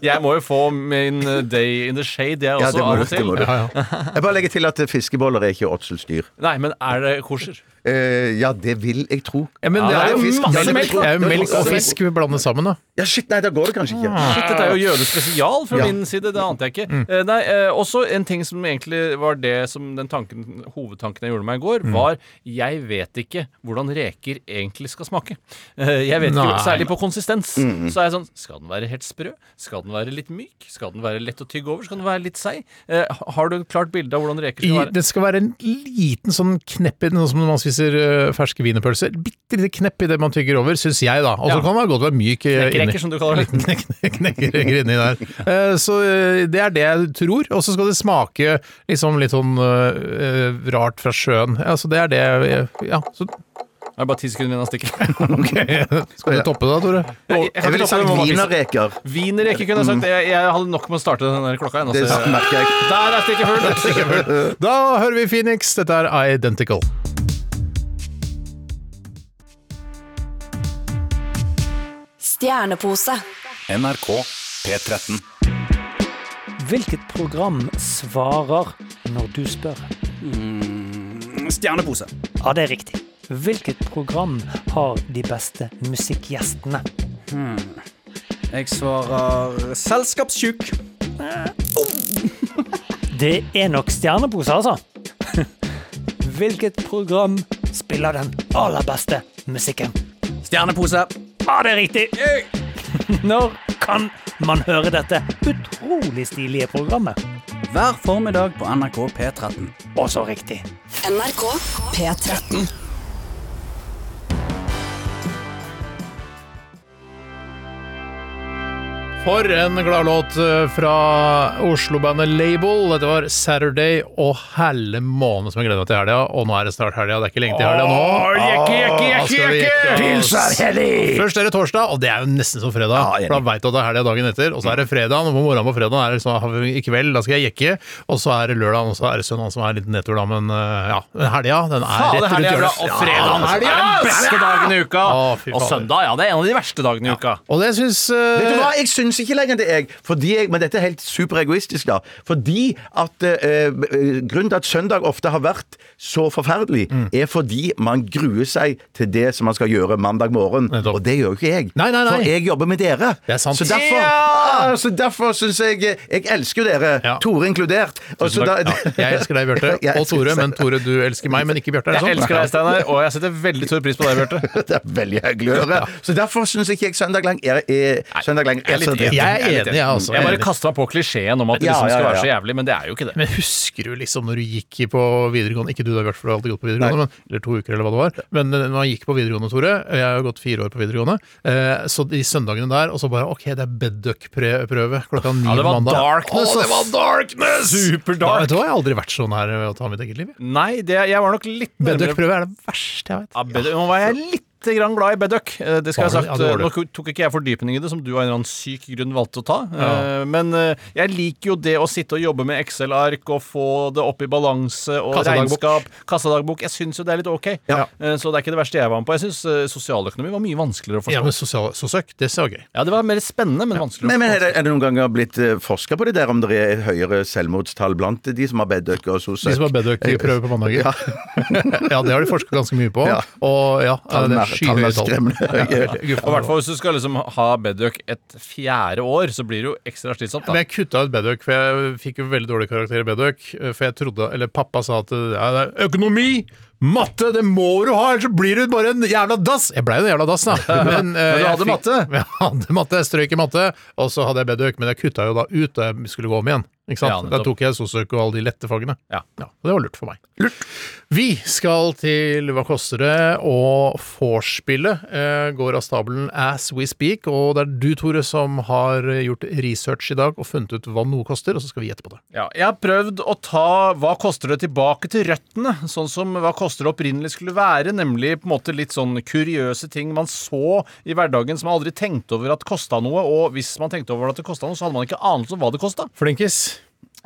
jeg må jo få min eh, day in the shade, jeg Ja, også, det må av du, og det til. må du. Ja, ja. Jeg bare legger til at eh, fiskeboller er ikke åtselsdyr. Nei, men er det kosher? Eh, ja, det vil jeg tro. Ja, men det Ja, er jo fisk. masse Ja, det er melk. fisk. Det er jo Ja, melk og fisk vi blander sammen, da. Ja, shit, nei, da går det kanskje ikke. Shit, dette er jo jødespesial fra min side, det ante jeg ikke. Eh, nei, eh, også en ting som egentlig var det som den tanken, hovedtanken jeg gjorde meg i går, var jeg vet ikke hvordan reker egentlig skal smake. Eh, jeg vet Nei. ikke, Særlig på konsistens. Så er jeg sånn Skal den være helt sprø? Skal den være litt myk? Skal den være lett å tygge over? Skal den være litt seig? Eh, har du et klart bilde av hvordan reker I, skal være? det skal være en liten sånn knepp i den, sånn som når man spiser øh, ferske wienerpølser. Bitte lite knepp i det man tygger over, syns jeg, da. Og så Ja. kan det være godt å være myk øh, inni. Knekkereker, som du kaller det. Knek- Knekkereker inni der. Eh, Så eh, det er det jeg tror. Og så skal det smake liksom litt sånn eh, eh, rart fra sjøen. Ja, så det er det jeg- Ja, så Det er bare ti sekunder igjen av stikket. skal du toppe det da, Tore? Jeg- jeg Jeg kan ville ikke toppe sagt det, mamma. wienerreker. Wienerreker kunne jeg sagt. Jeg, jeg hadde nok med å starte den der klokka. ennå, Det så- merker jeg. Der er stikket fullt! Da hører vi Phoenix. Dette er Identical. Stjernepose. NRK P13. Hvilket program svarer når du spør? Stjernepose. Ja, det er riktig. Hvilket program har de beste musikkgjestene? Jeg svarer selskapstjukk. Det er nok stjernepose, altså. Hvilket program spiller den aller beste musikken? Stjernepose. Ja, det er riktig. Når kan man høre dette utrolig stilige programmet? Hver formiddag på NRK P13. Også riktig. NRK P13. For en gladlåt fra Oslo-bandet Label. Dette var 'Saturday' og hele måned som jeg gleder meg til helga. Og nå er det snart helga. Det er ikke lenge til helga nå. jekke, jekke, jekke, Da Ah, skal vi jekke! jekke oss. Først er det torsdag, og det er jo nesten som fredag. for da veit du at det er helga dagen etter. Og så er det fredag, og på morgenen på fredag er det sånn i kveld, da skal jeg jekke. Og så er det lørdag, og så er det søndag, som er en liten nedtur, da. Men eh, ja, helga, den er Ja, rett det rundt her er bra. hjørnet. Og fredagen Ja, er den beste dagen i uka. Å, fy Og fader. søndag ja, det er en av de verste dagene i uka. Og det syns eh, Vet du hva, jeg syns ikke lenger det, jeg. Fordi jeg men dette er helt superegoistisk, da. Fordi at eh, eh, Grunnen til at søndag ofte har vært så forferdelig, Mm. er fordi man gruer seg til det som man skal gjøre mandag morgen. Nettopp. Og det gjør jo ikke jeg. Nei, nei, nei. For jeg jobber med dere. Det er sant. Så derfor, ah, så derfor syns jeg Jeg elsker jo dere. Ja. Tore inkludert. Og så da- Ja, jeg elsker deg, Bjarte. Jeg Og elsker Tore, deg. men Tore, du elsker meg, men ikke Bjarte. er det Jeg sånn? elsker deg, Steinar, og jeg setter veldig stor pris på deg, Bjarte. Det er veldig hyggelig å høre. Så derfor syns ikke jeg søndag lang er, er, søndag lang er, så dritt. Jeg er enig, jeg, altså. Jeg bare Enig. kasta meg på klisjeen om at det Ja, liksom ja, skal ja, være så ja. jævlig, men det er jo ikke det. Men husker du liksom når du gikk på videregående Ikke du da, Bjarte, for du har alltid gått på videregående, men, eller to uker, eller hva det var. Men eh, når man gikk på videregående, Tore eh, Jeg har jo gått fire år på videregående. eh, Så de søndagene der, og så bare OK, det er bedduck-prøve klokka ni Ja, det på var mandag. darkness, Å, det var ass. darkness! Superdark. Da, vet du hva, jeg har aldri vært sånn her ved å ta mitt eget liv. jeg. Nei, det, jeg var nok litt nærmere Bedduck-prøve er det verste jeg vet. ja, bedre, Nå var jeg litt lite grann glad i Bedduck. Eh, Det skal Var du? jeg ha sagt. Ja, det var du. Nå tok ikke jeg fordypning i det, som du av en eller annen syk grunn valgte å ta. Eh, Men eh, jeg liker jo det å sitte og jobbe med Excel-ark og få det opp i balanse og Kassadagbok. regnskap. Kassadagbok. Jeg syns jo det er litt ok. Ja. Eh, Så det er ikke det verste jeg var med på. Jeg syns eh, sosialøkonomi var mye vanskeligere å Ja, forstå. men sosial- Sosøk, det ser jo gøy. Ja, det var mer spennende, men vanskeligere. å Men, men forstå. er, det, er det noen ganger blitt forska på det der, om det er høyere selvmordstall blant de som har bedøk og De sosøk? som har Bedøk i prøve på mandager. Ja. Ja. det har de forska ganske mye på. Ja. Og ja, det Tallene er er- skyhøye tall. tallene er skremmende høye. Gud, Og i hvert fall hvis du skal liksom ha Bedduck et fjerde år, så blir det jo ekstra slitsomt. Men da jeg kutta ut Bedøk, for jeg fikk jo veldig dårlig karakter i Bedøk. For jeg trodde, eller pappa sa at ja, det er økonomi, matte, det må du ha, ellers så blir du bare en jævla dass! Jeg blei jo en jævla dass, da. Men, eh, Men du jeg hadde fikk- matte? Jeg hadde matte, jeg strøk i matte, og så hadde jeg Bedøk, men jeg kutta jo da ut da jeg skulle gå om igjen. Ikke sant? Ja, nettopp. da tok jeg sosøk og alle de lette fagene. Ja. og det var lurt for meg. Vi skal til Hva koster det? Og vorspielet eh, går av stabelen as we speak. Og det er du, Tore, som har gjort research i dag og funnet ut hva noe koster, og så skal vi gjette på det. Ja, jeg har prøvd å ta hva koster det tilbake til røttene, sånn som hva koster det opprinnelig skulle være, nemlig på en måte litt sånn kuriøse ting man så i hverdagen som man aldri tenkte over at kosta noe, og hvis man tenkte over at det kosta noe, så hadde man ikke anelse om hva det kosta. Flinkis.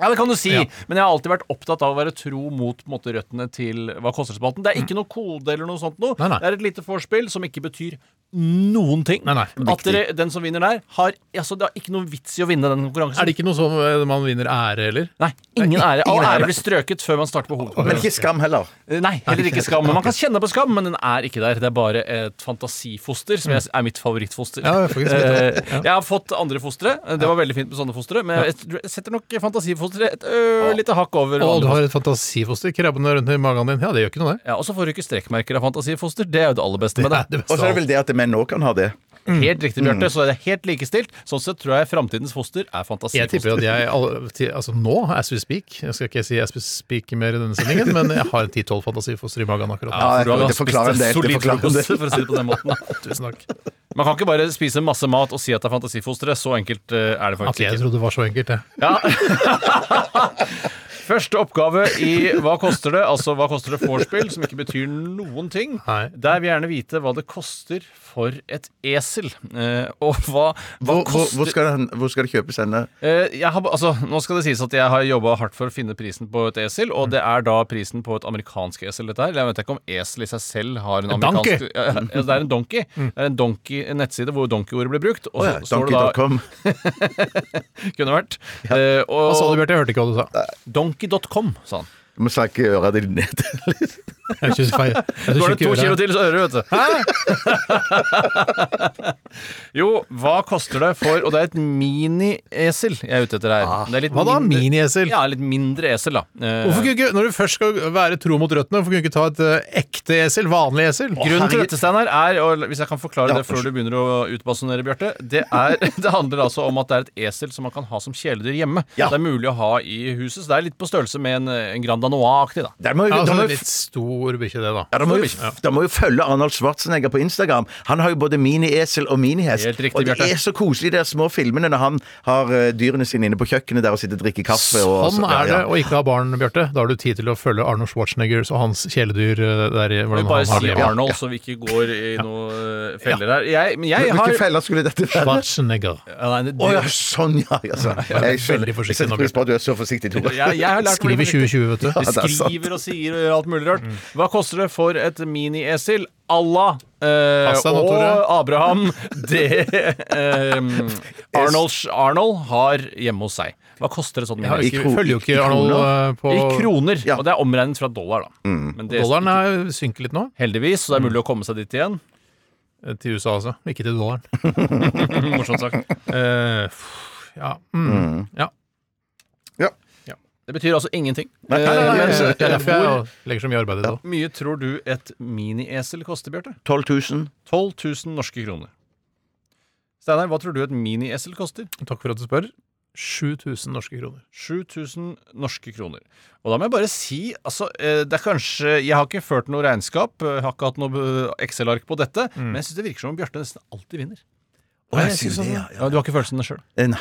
Ja, det kan du si, men jeg har alltid vært opptatt av å være tro mot på en måte, røttene til hva koster spalten. Det er ikke noe kode eller noe sånt noe. Nei, nei. Det er et lite vorspiel som ikke betyr noen ting. Nei, nei. At dere, den som vinner der, har altså, Det har ikke noe vits i å vinne den konkurransen. Er det ikke noe sånn eh, man vinner ære, eller? Nei, ingen ære. All ingen ære. ære blir strøket før man starter på Men hovedkonkurransen. ikke skam heller. Nei, heller ikke skam. Men man kan kjenne på skam, men den er ikke der. Det er bare et fantasifoster, som jeg, er mitt favorittfoster. Ja, faktisk mitt Eh, Jeg har fått andre fostre. Eh, Det var veldig fint med sånne fostre, men jeg setter nok fantasifosteret et ø, lite hakk over. Å, vanlig du har et fantasifoster krabbende rundt i magen din. Ja, det gjør ikke noe, det. Ja, Og så får du ikke strekkmerker av fantasifoster. Det er jo det aller beste med det. det Og så er det vel det at menn òg kan ha det. Helt riktig, Bjarte. Så det er helt likestilt. Sånn sett tror jeg framtidens foster er Jeg tipper fantasifoster. at jeg all- til- Altså nå, as we speak Jeg skal ikke si as we speak mer i denne sendingen, men jeg har 10-12 fantasifoster i magen akkurat nå. for Ja, du har det spist forklarer en del, det solid forklarer en frokost, del. for å si det på den måten. da. Tusen takk. Man kan ikke bare spise masse mat og si at det er fantasifostre. Så enkelt eh, er det At faktisk jeg ikke. trodde det var så enkelt, jeg. Første oppgave i Hva koster det? Altså Hva koster det vorspiel, som ikke betyr noen ting. Nei. Der vil jeg gjerne vite hva det koster for et esel. Eh, og hva, hva Hvor, hvor, koster hvor, skal, han, hvor skal det kjøpes henne? Eh, jeg har, altså, nå skal det sies at jeg har jobba hardt for å finne prisen på et esel, og det er da prisen på et amerikansk esel, dette her. Jeg vet ikke om esel i seg selv har en donkey. Mm. amerikansk Ja, ja, Det er en donkey. Det er en donkey en nettside hvor donkey-ordet blir brukt. Og så Å ja, står det da Donkey.com. Kunne vært. Eh, Hva sa Altså, du, og Bjarte? Jeg hørte ikke hva du sa. donkey.com, sa han. Du må snakke øra dine ned. Jeg synes feil. Jeg synes Går ikke det to gjorde kilo det. til, så hører du, vet du. jo, hva koster det for Og det er et mini-esel jeg er ute etter her. Det er litt Ah, Hva da? mindre- Miniesel? Ja, litt mindre esel, da. Eh, Hvorfor kunne ikke, Når du først skal være tro mot røttene, hvorfor kunne du ikke ta et eh, ekte esel? Vanlig esel? Grunnen til dette, Steinar, er og Hvis jeg kan forklare det før du begynner å utbasunere, Bjarte. Det, er- det handler altså om at det er et esel som man kan ha som kjæledyr hjemme. Det er mulig å ha i huset. Så det er litt på størrelse med en, en Grand Anois-aktig, da. Der må jo, Ja, da altså, må en jo litt stor bikkje, det, Ja, da. da må, jo, da må jo følge Arnold Schwarzenegger på Instagram. Han har jo både mini-esel og minihest. Helt riktig, og det Bjarte. er så koselig, de der små filmene når han har eh, dyrene sine inne på kjøkkenet der og sitter og drikker kaffe. Og, Sånn ja, er det ja. å ikke ha barn, Bjarte. Da har du tid til å følge Arnold Schwarzeneggers og hans kjæledyr eh, der i Vi hvordan bare han har si det. hjemme. Arnold, så vi ikke går i noen feller her. Jeg, men jeg har Hvilke feller skulle dette være? Schwarzenegger. Ja, nei, det- Å ja, sånn ja! Altså. Jeg skjønner. veldig forsiktig Jeg setter nå, pris på at du er så forsiktig, Tore. jeg, jeg har lært å bli Skriver forsiktig. 2020, vet du. De Ja, det er sant. Mm. skriver og sier og gjør alt mulig rart. Hva koster det for et mini-esel à la eh, Pass deg nå, og Tore. Abraham det eh, Arnold, Arnold har hjemme hos seg? Hva koster et sånt Jeg har I mini-esel? ikke, kro- følger jo i ikke Arnold eh, på I kroner. Ja. Mm. Og det er omregnet fra dollar, da. Men det, Dollaren er- synker litt nå. Heldigvis, så det er mulig å komme seg dit igjen. Eh, Til USA, altså. Ikke til dollaren. Mhm, Morsomt sagt. Eh, pff, ja. Mm. ja. Det betyr altså ingenting. Nei, nei, nei, Eh, Men, men, det er eh, derfor hvor jeg legger så mye arbeid i det. da. mye tror du et mini-esel koster, Bjarte? 12 000. 12 000 norske kroner. Steinar, hva tror du et mini-esel koster? Takk for at du spør. 7000 norske kroner. 7000 norske kroner. Og da må jeg bare si altså, eh, det er kanskje, Jeg har ikke ført noe regnskap, eh, har ikke hatt noe eh, Excel-ark på dette, men Mm. jeg syns det virker som om Bjarte nesten alltid vinner. Å, jeg jeg sier synes jo han- det, ja. ja. Ja, du har ikke følelsen sjøl. Nei, ja, Men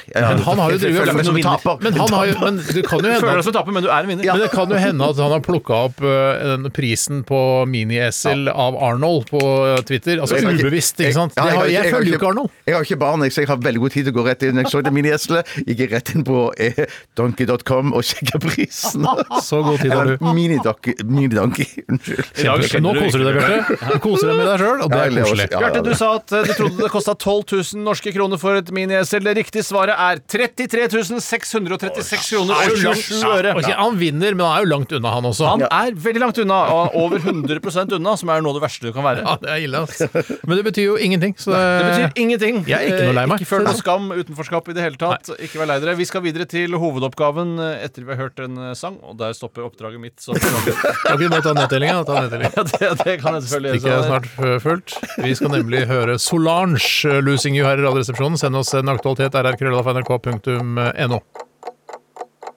han har jo jeg føler drevet meg som men, vinner. men, han har jo, men det kan jo Du hende føler deg at, som taper, men du er en vinner. men det kan jo hende at han har plukka opp eh, den prisen på Mini-Esel av Arnold på eh, Twitter. Altså Jeg har ikke- ubevisst, ikke sant? Ja, Jeg, har, har jeg følger jo ikke Arnold. Jeg har ikke barn, jeg, så jeg har veldig god tid til å gå rett inn. Jeg så det minieselet, gikk jeg rett inn på eh, donkey.com og sjekka prisen. Så god tid har Eller du. mini-donkey. Mini-donkey, unnskyld. dag skjønner Nå du koser du deg, Bjarte. Du koser deg med deg sjøl, og det Ja, er det er koselig. også- ja. Bjarte, du sa at eh, du trodde det kosta 12 000 norske kroner for et mini-esel. Det riktige svaret er 33 636 kroner og 27 øre. Ok, han vinner, men han er jo langt unna, han også. Han er veldig langt unna, og over 100 unna, som er noe av det verste du kan være. Ja, det er ille, altså. Men det betyr jo ingenting. Så Det betyr ingenting. Eh, Jeg er ikke noe lei meg. Eh, Ikke føl noe skam, utenforskap i det hele tatt. Ikke vær lei dere. Vi skal videre til hovedoppgaven eh, etter vi har hørt en eh, sang, og der stopper oppdraget mitt. som programleder. Kan ikke du bare ta nedtellinga? Ta nedtellinga. ja, det, det kan jeg selvfølgelig Ikke gjøre. snart ø, fullt. Vi skal nemlig høre Solange ø, 'Losing You' her i Radioresepsjonen. Send oss en aktualitet rrkrøllalfa.nrk.no.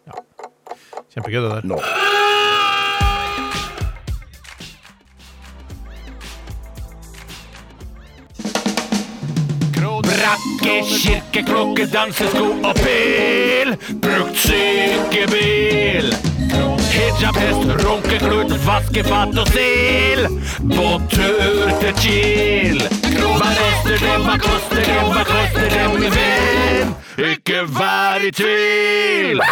Ja. Kjempegøy, det der. Nå. Brakke, kirke, klokke, dansesko og pil. Brukt sykebil. Hijab, hest, runkeklut, vaskefat og stil. På tur til Kiel. Hva koster det, hva koster det, hva koster det, min venn? Ikke vær i tvil.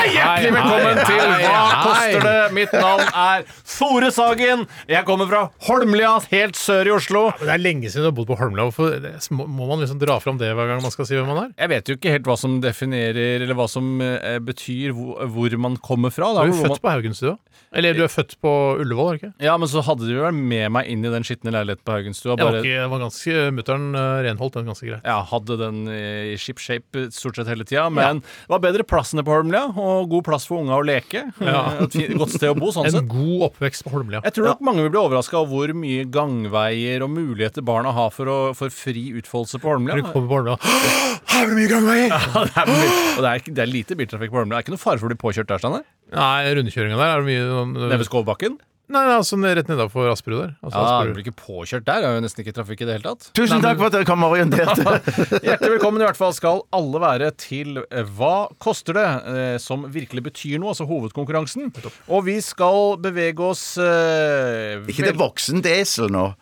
Hjertelig velkommen Hei, til hei, Hva hei. koster det? Mitt navn er Tore Sagen. Jeg kommer fra Holmlia, helt sør i Oslo. Det er lenge siden du har bodd på Holmlia. Hvorfor det- må- må man liksom dra fram det hver gang man skal si hvem man er? Jeg vet jo ikke helt hva som definerer, eller hva som eh, betyr hvor, hvor man kommer Du fra. Da. er Hvor jo man, født på Haugenstua. Eller du er født på Ullevål, er du ikke? ja, men så hadde de vel med meg inn i den skitne leiligheten på Jeg Haugenstua. var, bare- ikke, jeg var ganske, eh, Mutter'n ø, renholdt den ganske greit. ja, hadde den i ship shape stort sett hele tida, men det var bedre plass enn på Holmlia, og god plass for unga å leke. Eh, Et fint- godt sted å bo, sånn En sett. god oppvekst på Holmlia. Jeg tror nok mange vil bli overraska over hvor mye gangveier og muligheter barna har for, å, for fri utfoldelse på Holmlia. Du kommer på Holmlia. Ja, det, er mye- og det, er, ikke- det er lite biltrafikk på Holmlia. Det er ikke noe fare for å bli påkjørt der, Steinar. Nei, rundkjøringa der er det mye sånn, ø, Nede ved Skovbakken. Nei, nei, altså rett nedafor Asperud der. Altså, Mm. Ja, du Asperud. blir ikke påkjørt der. Det er jo nesten ikke trafikk i det hele tatt. Tusen takk for at dere kom orienterte. Hjertelig velkommen i hvert fall skal alle være til eh, Hva koster det? eh, Som virkelig betyr noe, altså hovedkonkurransen. Og vi skal bevege oss eh, Ikke det vel- voksent esel nå.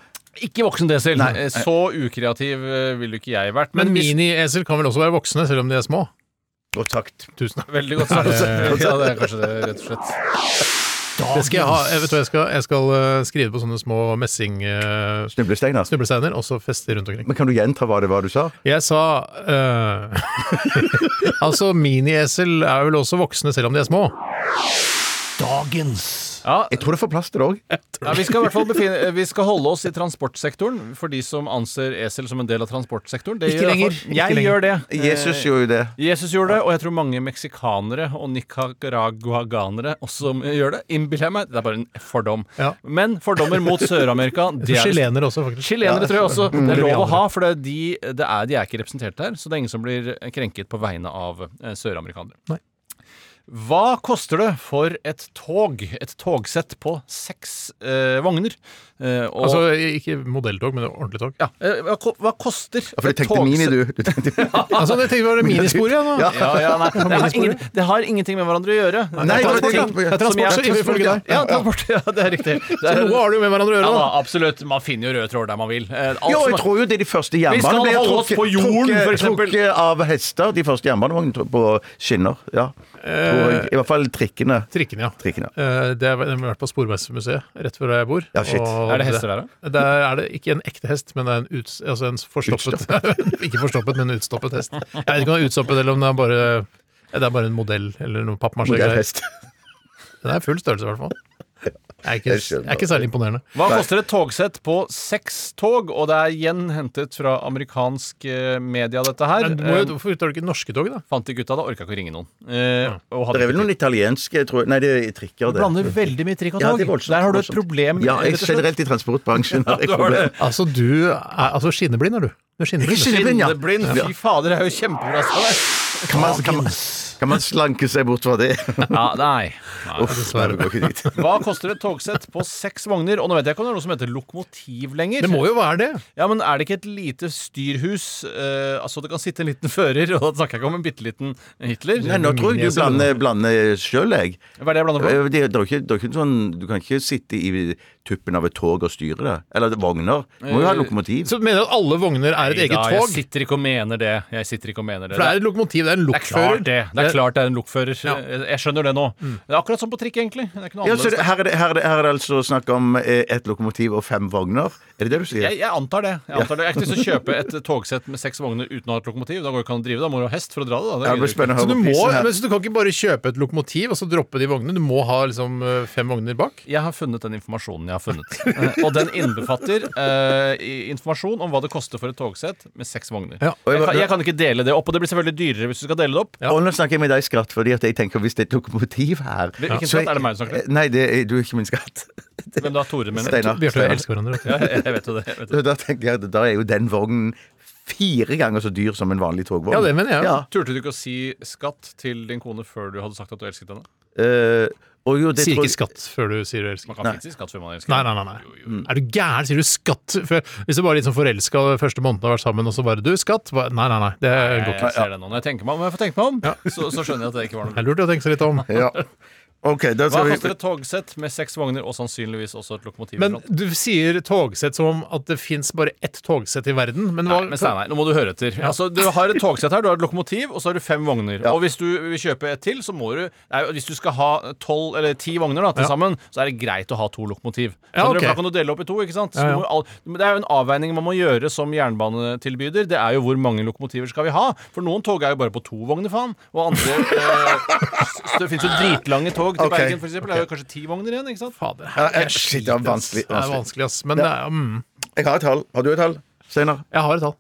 ikke voksen desel. Nei. Eh, Så ukreativ eh, ville ikke jeg vært. Men hvis- mini-esel kan vel også være voksne, selv om de er små? Godt sagt. Tusen takk. Veldig godt sagt. Eh, Ja, det er kanskje det, rett og slett. Det skal jeg ha. Jeg, vet du, hva, jeg, skal, jeg skal eh, skrive på sånne små messing... eh, Snublesteiner. Snublesteiner, og så feste rundt omkring. altså. Men kan du gjenta hva det var du sa? Jeg sa eh, Altså, mini-esel er vel også voksne selv om de er små. Ja, Jeg tror det får plass til det òg. ja, vi, skal i hvert fall befinne, eh, vi skal holde oss i transportsektoren, for de som anser esel som en del av transportsektoren. Det Ikke gjør i hvert lenger. fall- Ikke Jeg lenger. gjør det. Jesus gjorde jo det. Jesus gjorde det, og jeg tror mange meksikanere og nicaraguaganere også gjør det. Innbiller jeg meg. Det er bare en fordom. Ja. Men fordommer mot Sør-Amerika det er Chilener også, faktisk. Chilenere tror jeg også. Det er lov å ha, for det er de, det er, de er ikke representert her. Så det er ingen som blir krenket på vegne av eh, søramerikanere. Nei. Hva koster det for et tog, et togsett på seks eh, vogner? Eh, og, Altså, ikke modelltog, men ordentlig tog. ja, eh, hva, ko- hva koster Ja, For du et tenkte mini, du. du tenkte... Altså, jeg tenkte bare minispor, ja. Nå. Ja, ja, nei, det, har ingen, det har ingenting med hverandre å gjøre. Nei, det var det jeg Transport- tenkte på, ja. som Transport, jeg- så ifølge deg. Ja, transport. Ja, det er riktig. Det er, Noe har det jo med hverandre å ja, gjøre, da, da. absolutt. Man finner jo røde tråder der man vil. Eh, alt Jo, som- jeg tror jo det er de første Vi skal jernbanene ble holde oss på jorden, for trukket, eksempel. trukket av hester. De første jernbanevognene tru- på skinner. Ja. Tror jeg. I hvert fall trikkene. Trikkene, ja. trikkene. Eh, det er, den har vært på Sporveismuseet, rett før der jeg bor. Ja, shit. Og Er det hester der, da? Der er det ikke en ekte hest, men det er en, ut, altså en forstoppet Ikke forstoppet, men en utstoppet hest. Jeg vet ikke om den er utstoppet, eller om den er bare det er bare en modell eller noe pappmasjé. Modellhest. Den er full størrelse, i hvert fall. Det er ikke, Jeg skjønner. det er ikke særlig imponerende. Hva koster et togsett på seks tog? Og det er igjen hentet fra amerikansk eh, media, dette her. Men du må Eh, jo, hvorfor tar du ikke norske tog, da? Fant de gutta da? Orka ikke å ringe noen. Eh, og hadde Det er ikke vel noen tid. italienske tror jeg. Nei, det er trikker. Du Det. blander veldig mye trikk og Ja, tog. det er voldsomt, Der har du et voldsomt. problem. Ja, rett jeg, og slett. generelt i transportbransjen har jeg du har det. problemer. Altså, du er altså, skinneblind, er du. Du er skinneblind. Skinneblind, ja. Skinneblind. Fy fader, det er jo kjempebra. Steinar. Kan man, kan man, Kan man slanke seg bort fra det? Ja, nei. Uff, nei, vi går ikke dit. Hva koster et togsett på seks vogner? Og nå vet jeg ikke om det er noe som heter lokomotiv lenger. Det må jo være det. Ja, men er det ikke et lite styrhus? Eh, altså, det kan sitte en liten fører, og da snakker jeg ikke om en bitte liten Hitler. Nei, nå tror jeg du blander, blander sjøl, jeg. Hva er det jeg blander for? Eh, Det, det er jo ikke, det er jo ikke sånn, du kan ikke sitte i tuppen av et tog og styre det. Eller vogner. Du må jo ha Eh, lokomotiv. Så mener du at alle vogner er et eget Ida, Jeg tog? sitter ikke og mener det. Jeg sitter ikke og mener det. For det er et lokomotiv, det er en Det er klart lokfører. det. Det er klart det er en lokfører. Jeg- Jeg skjønner det nå. Det er akkurat som på trikk, egentlig. Det er ikke noe Mm. Ja, så annerledes. det, her, er det, her, er det, her er det altså snakk om eh, ett lokomotiv og fem vogner? Er det det du sier? Jeg, jeg antar det. Jeg antar det. Jeg har ikke lyst til å kjøpe et togsett med seks vogner uten å ha et lokomotiv. Da går det ikke an å drive. Da må du ha hest for å dra det. Da. Ja, Det det blir gidder du ikke. spennende å Så du, høre på må, prisen her. men så du kan ikke bare kjøpe et lokomotiv og så droppe de vognene? Du må ha liksom eh, fem vogner bak? Jeg har funnet den informasjonen jeg har funnet. Eh, Og den innbefatter eh, i- informasjon om hva det koster for et togsett med seks vogner. Ja. Jeg, kan, jeg kan ikke dele det opp, og det blir selvfølgelig dyrere hvis du skal dele det opp. Og nå snakker jeg med deg, skatt, fordi at jeg tenker hvis det er et lokomotiv her Hvilken så jeg- skatt? Er det meg du snakker Nei, det er, du er ikke min skatt. Hvem da? Tore, mener du? Bjarte Steinar. og jeg Steinar. elsker hverandre. vet du. Ja, jeg jeg vet jo det. Jeg vet jo det. Da tenker jeg at da er jo den vognen fire ganger så dyr som en vanlig togvogn. Ja, det mener jeg. Ja. Turte du ikke å si skatt til din kone før du hadde sagt at du elsket henne? Eh, og jo, det Sier tror ikke jeg- skatt før du sier du elsker. Man kan ikke si skatt før man elsker Nei, nei, nei. nei. Er du gæren? Sier du skatt? Før? Hvis du bare er litt sånn forelska første måneden har vært sammen, og så bare du, skatt? Hva- Nei, nei, nei. Det går Jeg, ikke. ser det nå. Når jeg tenker meg om, jeg får tenke meg om, så, så skjønner jeg at det ikke var Det noe. er lurt å tenke seg litt om. Ja. OK, da Hva skal koster vi et togsett med seks vogner og sannsynligvis også et lokomotiv? i Men front? du sier togsett som om at det fins bare ett togsett i verden. Men hva Nei, men Steinar, nå må du høre etter. Altså, du har et togsett her, du har et lokomotiv, og så har du fem vogner. Og hvis du vil kjøpe et til, så må du nei, Hvis du skal ha tolv eller ti vogner da, til sammen, så er det greit å ha to lokomotiv. Ja, ok. Skjønner du? For Da kan du dele opp i to, ikke sant? Så Ja, ja. du Må, al- men det er jo en avveining man må gjøre som jernbanetilbyder. Det er jo hvor mange lokomotiver skal vi ha? For noen tog er jo bare på to vogner, faen. Og andre eh, s- Det fins jo dritlange tog til Ok. Bergen, f.eks. Det er jo kanskje ti vogner igjen, ikke sant? Fader, Ja, jeg- jeg shit, sliter, det er ass. vanskelig, Det er vanskelig. vanskelig, ass. Men det er, mm, Jeg har et tall. Har du et tall, Steinar? jeg har et tall.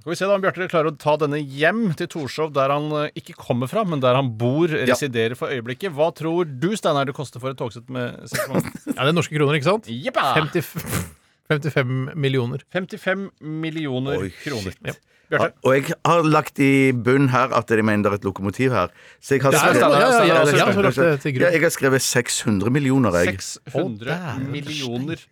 Skal vi se da om Bjarte klarer å ta denne hjem til Torshov, der han eh, ikke kommer fra, men der han bor, residerer for øyeblikket. Hva tror du, Steinar, det koster for et togsett med seks vogner? Ja, det er norske kroner, ikke sant? Jeppa! 50, 55 millioner. 55 millioner Oi, kroner. shit. Bjarte? Og jeg har lagt i bunnen her at jeg mener det er et lokomotiv her. Så jeg har Der, Steinar, ja, ja, ja, Steinar, ja, Steinar, så lagt det til grunn. Ja, jeg har skrevet 600 millioner, jeg. 600 millioner.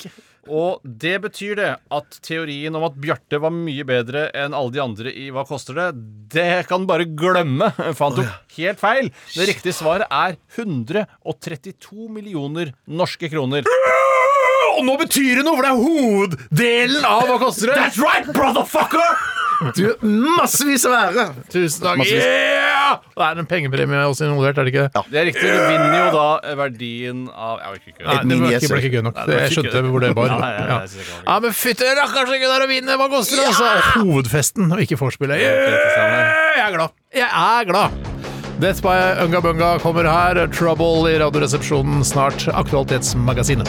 Og det betyr det at teorien om at Bjarte var mye bedre enn alle de andre i Hva koster det? Det kan bare glemme, for han tok helt feil. Det riktige svaret er 132 millioner norske kroner. Og nå betyr det noe, for det er hoveddelen av Hva koster det? That's right, brotherfucker! Du, massevis av ære! Tusen takk. Yeah! Det er en pengepremie også involvert, er det ikke? Det er riktig. Du vinner jo da verdien av Jeg orker ikke. Nei, det var ikke, ble ikke gøy nok. det var jeg ikke skjønte gøy. hvor det bar. Nei, nei, nei, Ja, jeg synes ikke det var gøy. ja men fytti rakkers, ikke der å vinne! Hva koster det? Altså, hovedfesten og ikke vorspielet. Yeah! Jeg er glad. Jeg er glad. Death by Unga Bunga kommer her. Trouble i Radioresepsjonen snart. Aktualitetsmagasinet.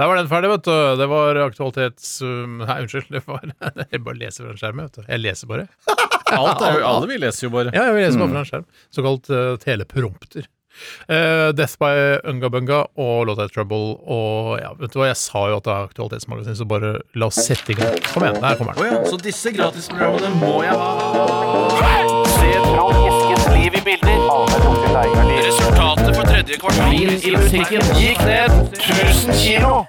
Der var den ferdig, vet du. Det var aktualitets... um, Nei, unnskyld. Det var Jeg bare leser fra en skjerm, vet du. Jeg leser bare. Alt er jo, alle vi leser jo bare. Ja, jeg vil lese bare fra en skjerm. Såkalt eh, teleprompter. Eh, Death by Unga Bunga og låta Trouble og ja, vet du hva, jeg sa jo at det er Aktualitetsmagasin, så bare la oss sette i gang. Kom igjen, der kommer den. Så disse gratisprogrammene må jeg ha. Resultatet for tredje kvartal i butikken gikk ned 1000 kilo.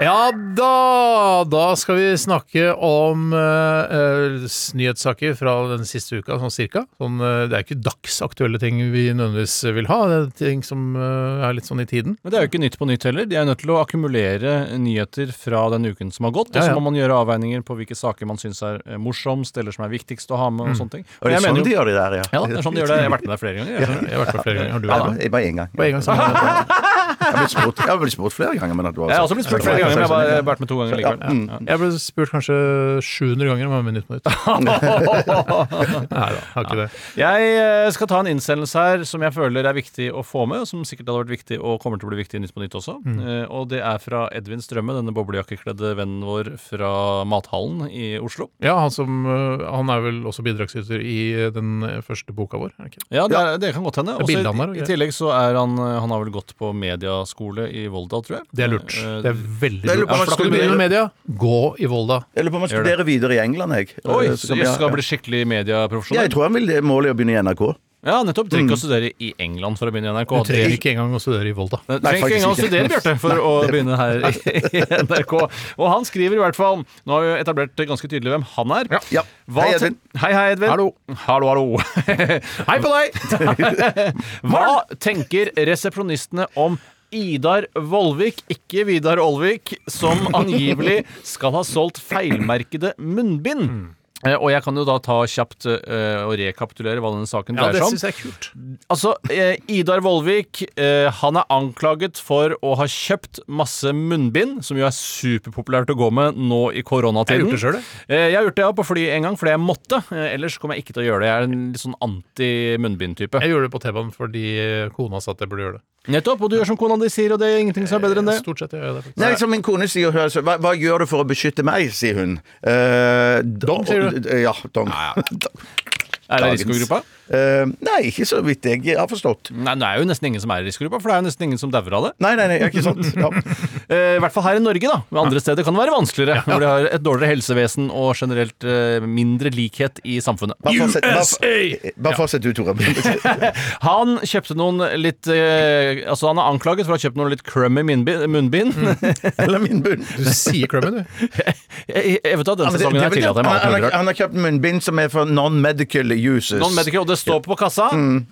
Ja da! Da skal vi snakke om eh, eh, s- nyhetssaker fra den siste uka, sånn cirka. Sånn, eh, det er ikke dagsaktuelle ting vi nødvendigvis vil ha, det er ting som eh, er litt sånn i tiden. Men det er jo ikke Nytt på Nytt heller. De er nødt til å akkumulere nyheter fra den uken som har gått. Og Ja, så ja. må man gjøre avveininger på hvilke saker man syns er eh, morsomst, eller som er viktigst å ha med, og sånne ting. Og det er jeg sånn mener de jo- gjør det der, ja. Ja, det er sånn de gjør det. Jeg har vært med der flere ganger. Jeg skjønner. Jeg har vært på flere ganger. Har du Ja, vært med? da, bare én gang. På en gang sammen. Jeg har blitt spurt, jeg har blitt spurt flere ganger. Men at du Jeg har også blitt spurt flere ganger, men jeg har bare- jeg har vært med to ganger likevel. Ja, mm. Ja. Jeg ble spurt kanskje 700 ganger om jeg var med i Nytt på Nytt. Nei da, har ikke det. Jeg eh, skal ta en innsendelse her som jeg føler er viktig å få med, og som sikkert hadde vært viktig og kommer til å bli viktig i Nytt på Nytt også. Eh, Og det er fra Edvin Strømme, denne boblejakkekledde vennen vår fra Mathallen i Oslo. Ja, han, som, øh, han er vel også bidragsyter i øh, den første boka vår. Er det ikke? Ja, det, er, det kan godt hende. er bildet han har, og Også, i, I greier. tillegg så er han eh, Han har vel gått på media mediaskole i Volda, tror jeg. Det er lurt. Eh, Det er veldig Jeg lurer lurt. på om Ja, for da han kan du skulle- begynne med media. Gå i Volda. Jeg lurer på om han studerer videre i England, jeg. Oi, Eh, så så kan jeg vi- ja, skal ja. bli skikkelig Ja, jeg medieprofesjonell? tror han vil det målet er å begynne i NRK. Ja, nettopp. Trenger ikke å studere i England for å begynne i NRK. Du trenger Det- ikke engang å studere i Volda. Nei, Trenger ikke faktisk engang å ikke. studere, Bjarte, for å begynne her i NRK. Og han skriver i hvert fall Nå har vi jo etablert ganske tydelig hvem han er. Ja. Hva Hei, te- Edvin. Hei, hei, Edvin. Hallo. Hallo, hallo. hei på deg! Hva tenker resepsjonistene om Idar Vollvik, ikke Vidar Olvik, som angivelig skal ha solgt feilmerkede munnbind? Eh, Og jeg kan jo da ta kjapt eh, og rekapitulere hva denne saken Ja, dreier det seg om. syns jeg er kult. Altså, eh, Idar Vollvik eh, Han er anklaget for å ha kjøpt masse munnbind, som jo er superpopulært å gå med nå i koronatiden. Jeg har gjort det selv, jeg. Eh, jeg har gjort det ja, på flyet en gang, fordi jeg måtte. Eh, ellers kommer jeg ikke til å gjøre det. Jeg er en litt sånn anti-munnbind-type. Jeg gjorde det på T-banen fordi eh, kona sa at jeg burde gjøre det. Nettopp. Og du gjør som kona di sier, og det er ingenting som er bedre enn det. Stort sett jeg gjør det. faktisk. Nei, som min kone sier, hun er så- hva, hva gjør du for å beskytte meg, sier hun. Eh, Dong, sier du? Ja, dong. Er det Dagens. risikogruppa? Eh, nei, ikke så vidt jeg har forstått. Nei, det er jo nesten ingen som er i risikogruppa, for det er jo nesten ingen som dauer av det. Nei, nei, nei, ikke sant. Ja. Eh, I hvert fall her i Norge, da. Men andre steder kan det være vanskeligere, når de har et dårligere helsevesen og generelt eh, mindre likhet i samfunnet. Bare fortsett, bare, bare fortsett du, Tore. Han kjøpte noen litt eh, Altså han er anklaget for å ha kjøpt noen litt crummy munnbind. munnbind. Mm. Eller min bunn. Du sier crummy, du. jeg, jeg vet at Ja, denne men det- sesongen det har er vel- tillatt han, meg alt han, mulig har- rart. han har kjøpt munnbind som er for non-medical uses. Noen mediker, og det står på kassa. Mm.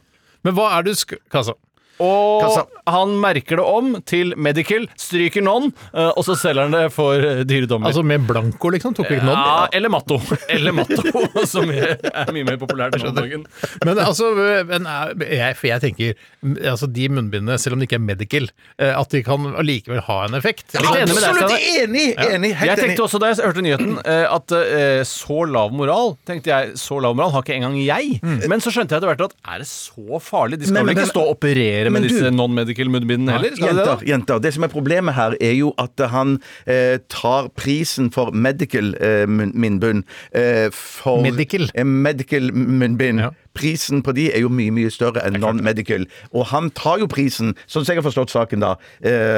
Men hva er det du sk... Kassa. Og Kassa. han merker det om til Medical, stryker non, eh, og så selger han det for eh, dyre dommer. Altså med blanco, liksom? Tok vi ikke nådd? ja, eller Matto. Eller Matto, som er mye mer populært nå om dagen. Men altså, men er- jeg, for jeg tenker m- altså de munnbindene, selv om det ikke er medical, eh, at de kan allikevel ha en effekt. Jeg er enig med deg, Absolutt Steinar. enig! enig helt Jeg enig. tenkte også da jeg hørte nyheten eh, at eh, så lav moral tenkte jeg, så lav moral har ikke engang jeg. Men så skjønte jeg etter hvert at er det så farlig? De skal Men- vel men- ikke stå og operere men med du- disse non-medical munnbindene heller? Skal de det, Jenter, da? jenter, det som er problemet her, er jo at han eh, tar prisen for medical eh, munn- munnbind eh, for Medical? Eh, medical munnbind. Ja. Prisen på de er jo mye mye større enn non-medical. Og han tar jo prisen, sånn som jeg har forstått saken, da,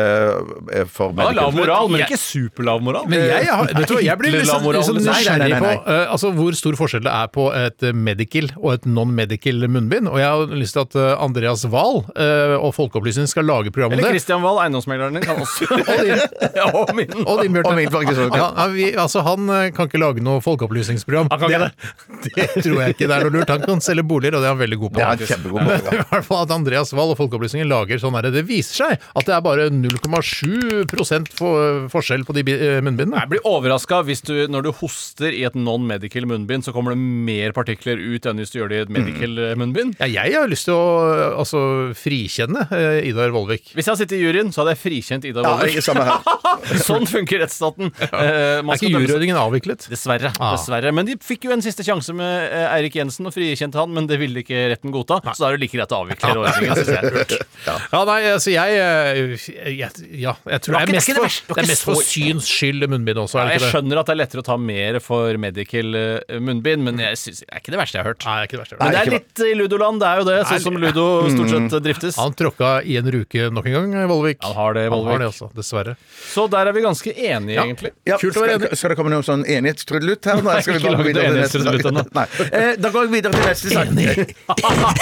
eh, for Ja, lav medical. moral, men Jeg- ikke superlav moral. Men jeg, har, vet du, hva, jeg blir litt Hitler-lav sånn- moral, litt sånn liksom. Nei, nei, nei, nysgjerrig på nei. eh, altså, hvor stor forskjell det er på et eh, medical og et non-medical munnbind. Og jeg har lyst til at eh, Andreas Wahl eh, og Folkeopplysningen skal lage program om Eller det. Christian Wahl, eiendomsmegleren din, kan også Ja, og min. Og din, Bjørte. Og min, faktisk, også. Han, han, vi, altså, han eh, kan ikke lage noe folkeopplysningsprogram. Han kan ikke det, det tror jeg ikke det er noe lurt. Han kan selge boliger, og det er han veldig god på. Det er en kjempegod moral. I hvert fall at Andreas Wahl og Folkeopplysningen lager sånn her. Det viser seg at det er bare 0,7 for, forskjell på de bi- eh, munnbindene. Jeg blir overraska hvis du, når du hoster i et non-medical munnbind, så kommer det mer partikler ut enn hvis du gjør det i et medical eh, munnbind. Ja, jeg har lyst til å eh, altså, frikjenne eh, Idar Vollvik. Hvis jeg hadde sittet i juryen, så hadde jeg frikjent Ida Ja, Wollvik. ikke samme her. sånn funker rettsstaten. Eh, Er man skal ikke dømmes- jurødingen avviklet? Dessverre. Ah. dessverre. Men de fikk jo en siste sjanse med eh, Eirik Jensen og frikjente han, men det ville ikke retten godta. Så da er det like greit å avvikle ordningen, synes jeg. Ja, nei, altså jeg eh, jeg, Ja, jeg tror det er ikke- mest det er ikke det for, verste. Det var det er ikke mest for så- syns skyld munnbind også, Ja, er det Jeg ikke det? skjønner at det er lettere å ta mer for medical eh, munnbind, men jeg synes, det er ikke det verste jeg har hørt. Nei, det er ikke det verste. Men det er ikke litt i ludoland, det er jo det, sånn som ludo stort sett eh, driftes. Han tråkka i en ruke nok en gang, eh, Vollvik. Han har det, Vollvik. det også, dessverre. Så der er vi ganske enige, Ja. egentlig. Ja, Kult å skal, være enig. skal det komme noen sånn enighetstrudelutt her? Nei, skal vi Ikke bare lag gå noe videre til neste enighetstrudelutt ennå. Nei. Eh, da går jeg videre til neste sak.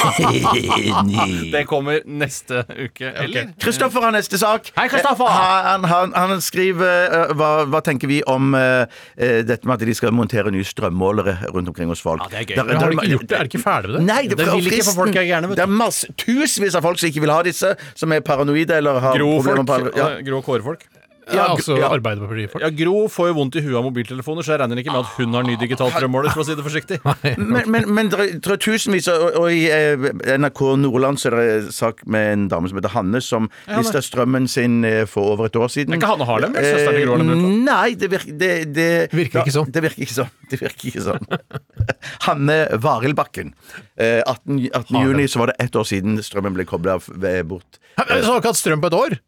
Det kommer neste uke, eller? Kristoffer har neste sak. Hei, Kristoffer! Eh, Han, han, han skriver eh, hva, hva tenker vi om eh, eh, dette med at de skal montere nye strømmålere rundt omkring hos folk? Ja, det er gøy. Der- Men Men der- har de ikke gjort det? Er de ikke ferdig med det? Nei, det, Det vil ikke, fristen- for folk er gærne, vet du. Det er masse, tusenvis av folk som ikke vil ha disse, som er paranoide eller har Grå problemer folk. på alle- ja. eh, Grå kårefolk. Ja, altså ja. Arbeiderpartifolk. Ja, Gro får jo vondt i huet av mobiltelefoner, så jeg regner ikke med at hun har ny digital strømmåler, for å si det forsiktig. Men, men, men det er- det er tusenvis, og, og i eh, NRK Nordland så er det en sak med en dame som heter Hanne, som mista strømmen sin eh, for over et år siden. Eh, Er ikke Hanne Harlem, eller søsteren til Gro Harlem Brundtland? Nei, det virker, det, det, Virker ikke sånn. Det virker ikke sånn. Det virker ikke sånn. Hanne Varildbakken. Eh, 18, 18. juni så var det ett år siden strømmen ble kobla bort. Hæ, men Så har ikke hatt strøm på et år?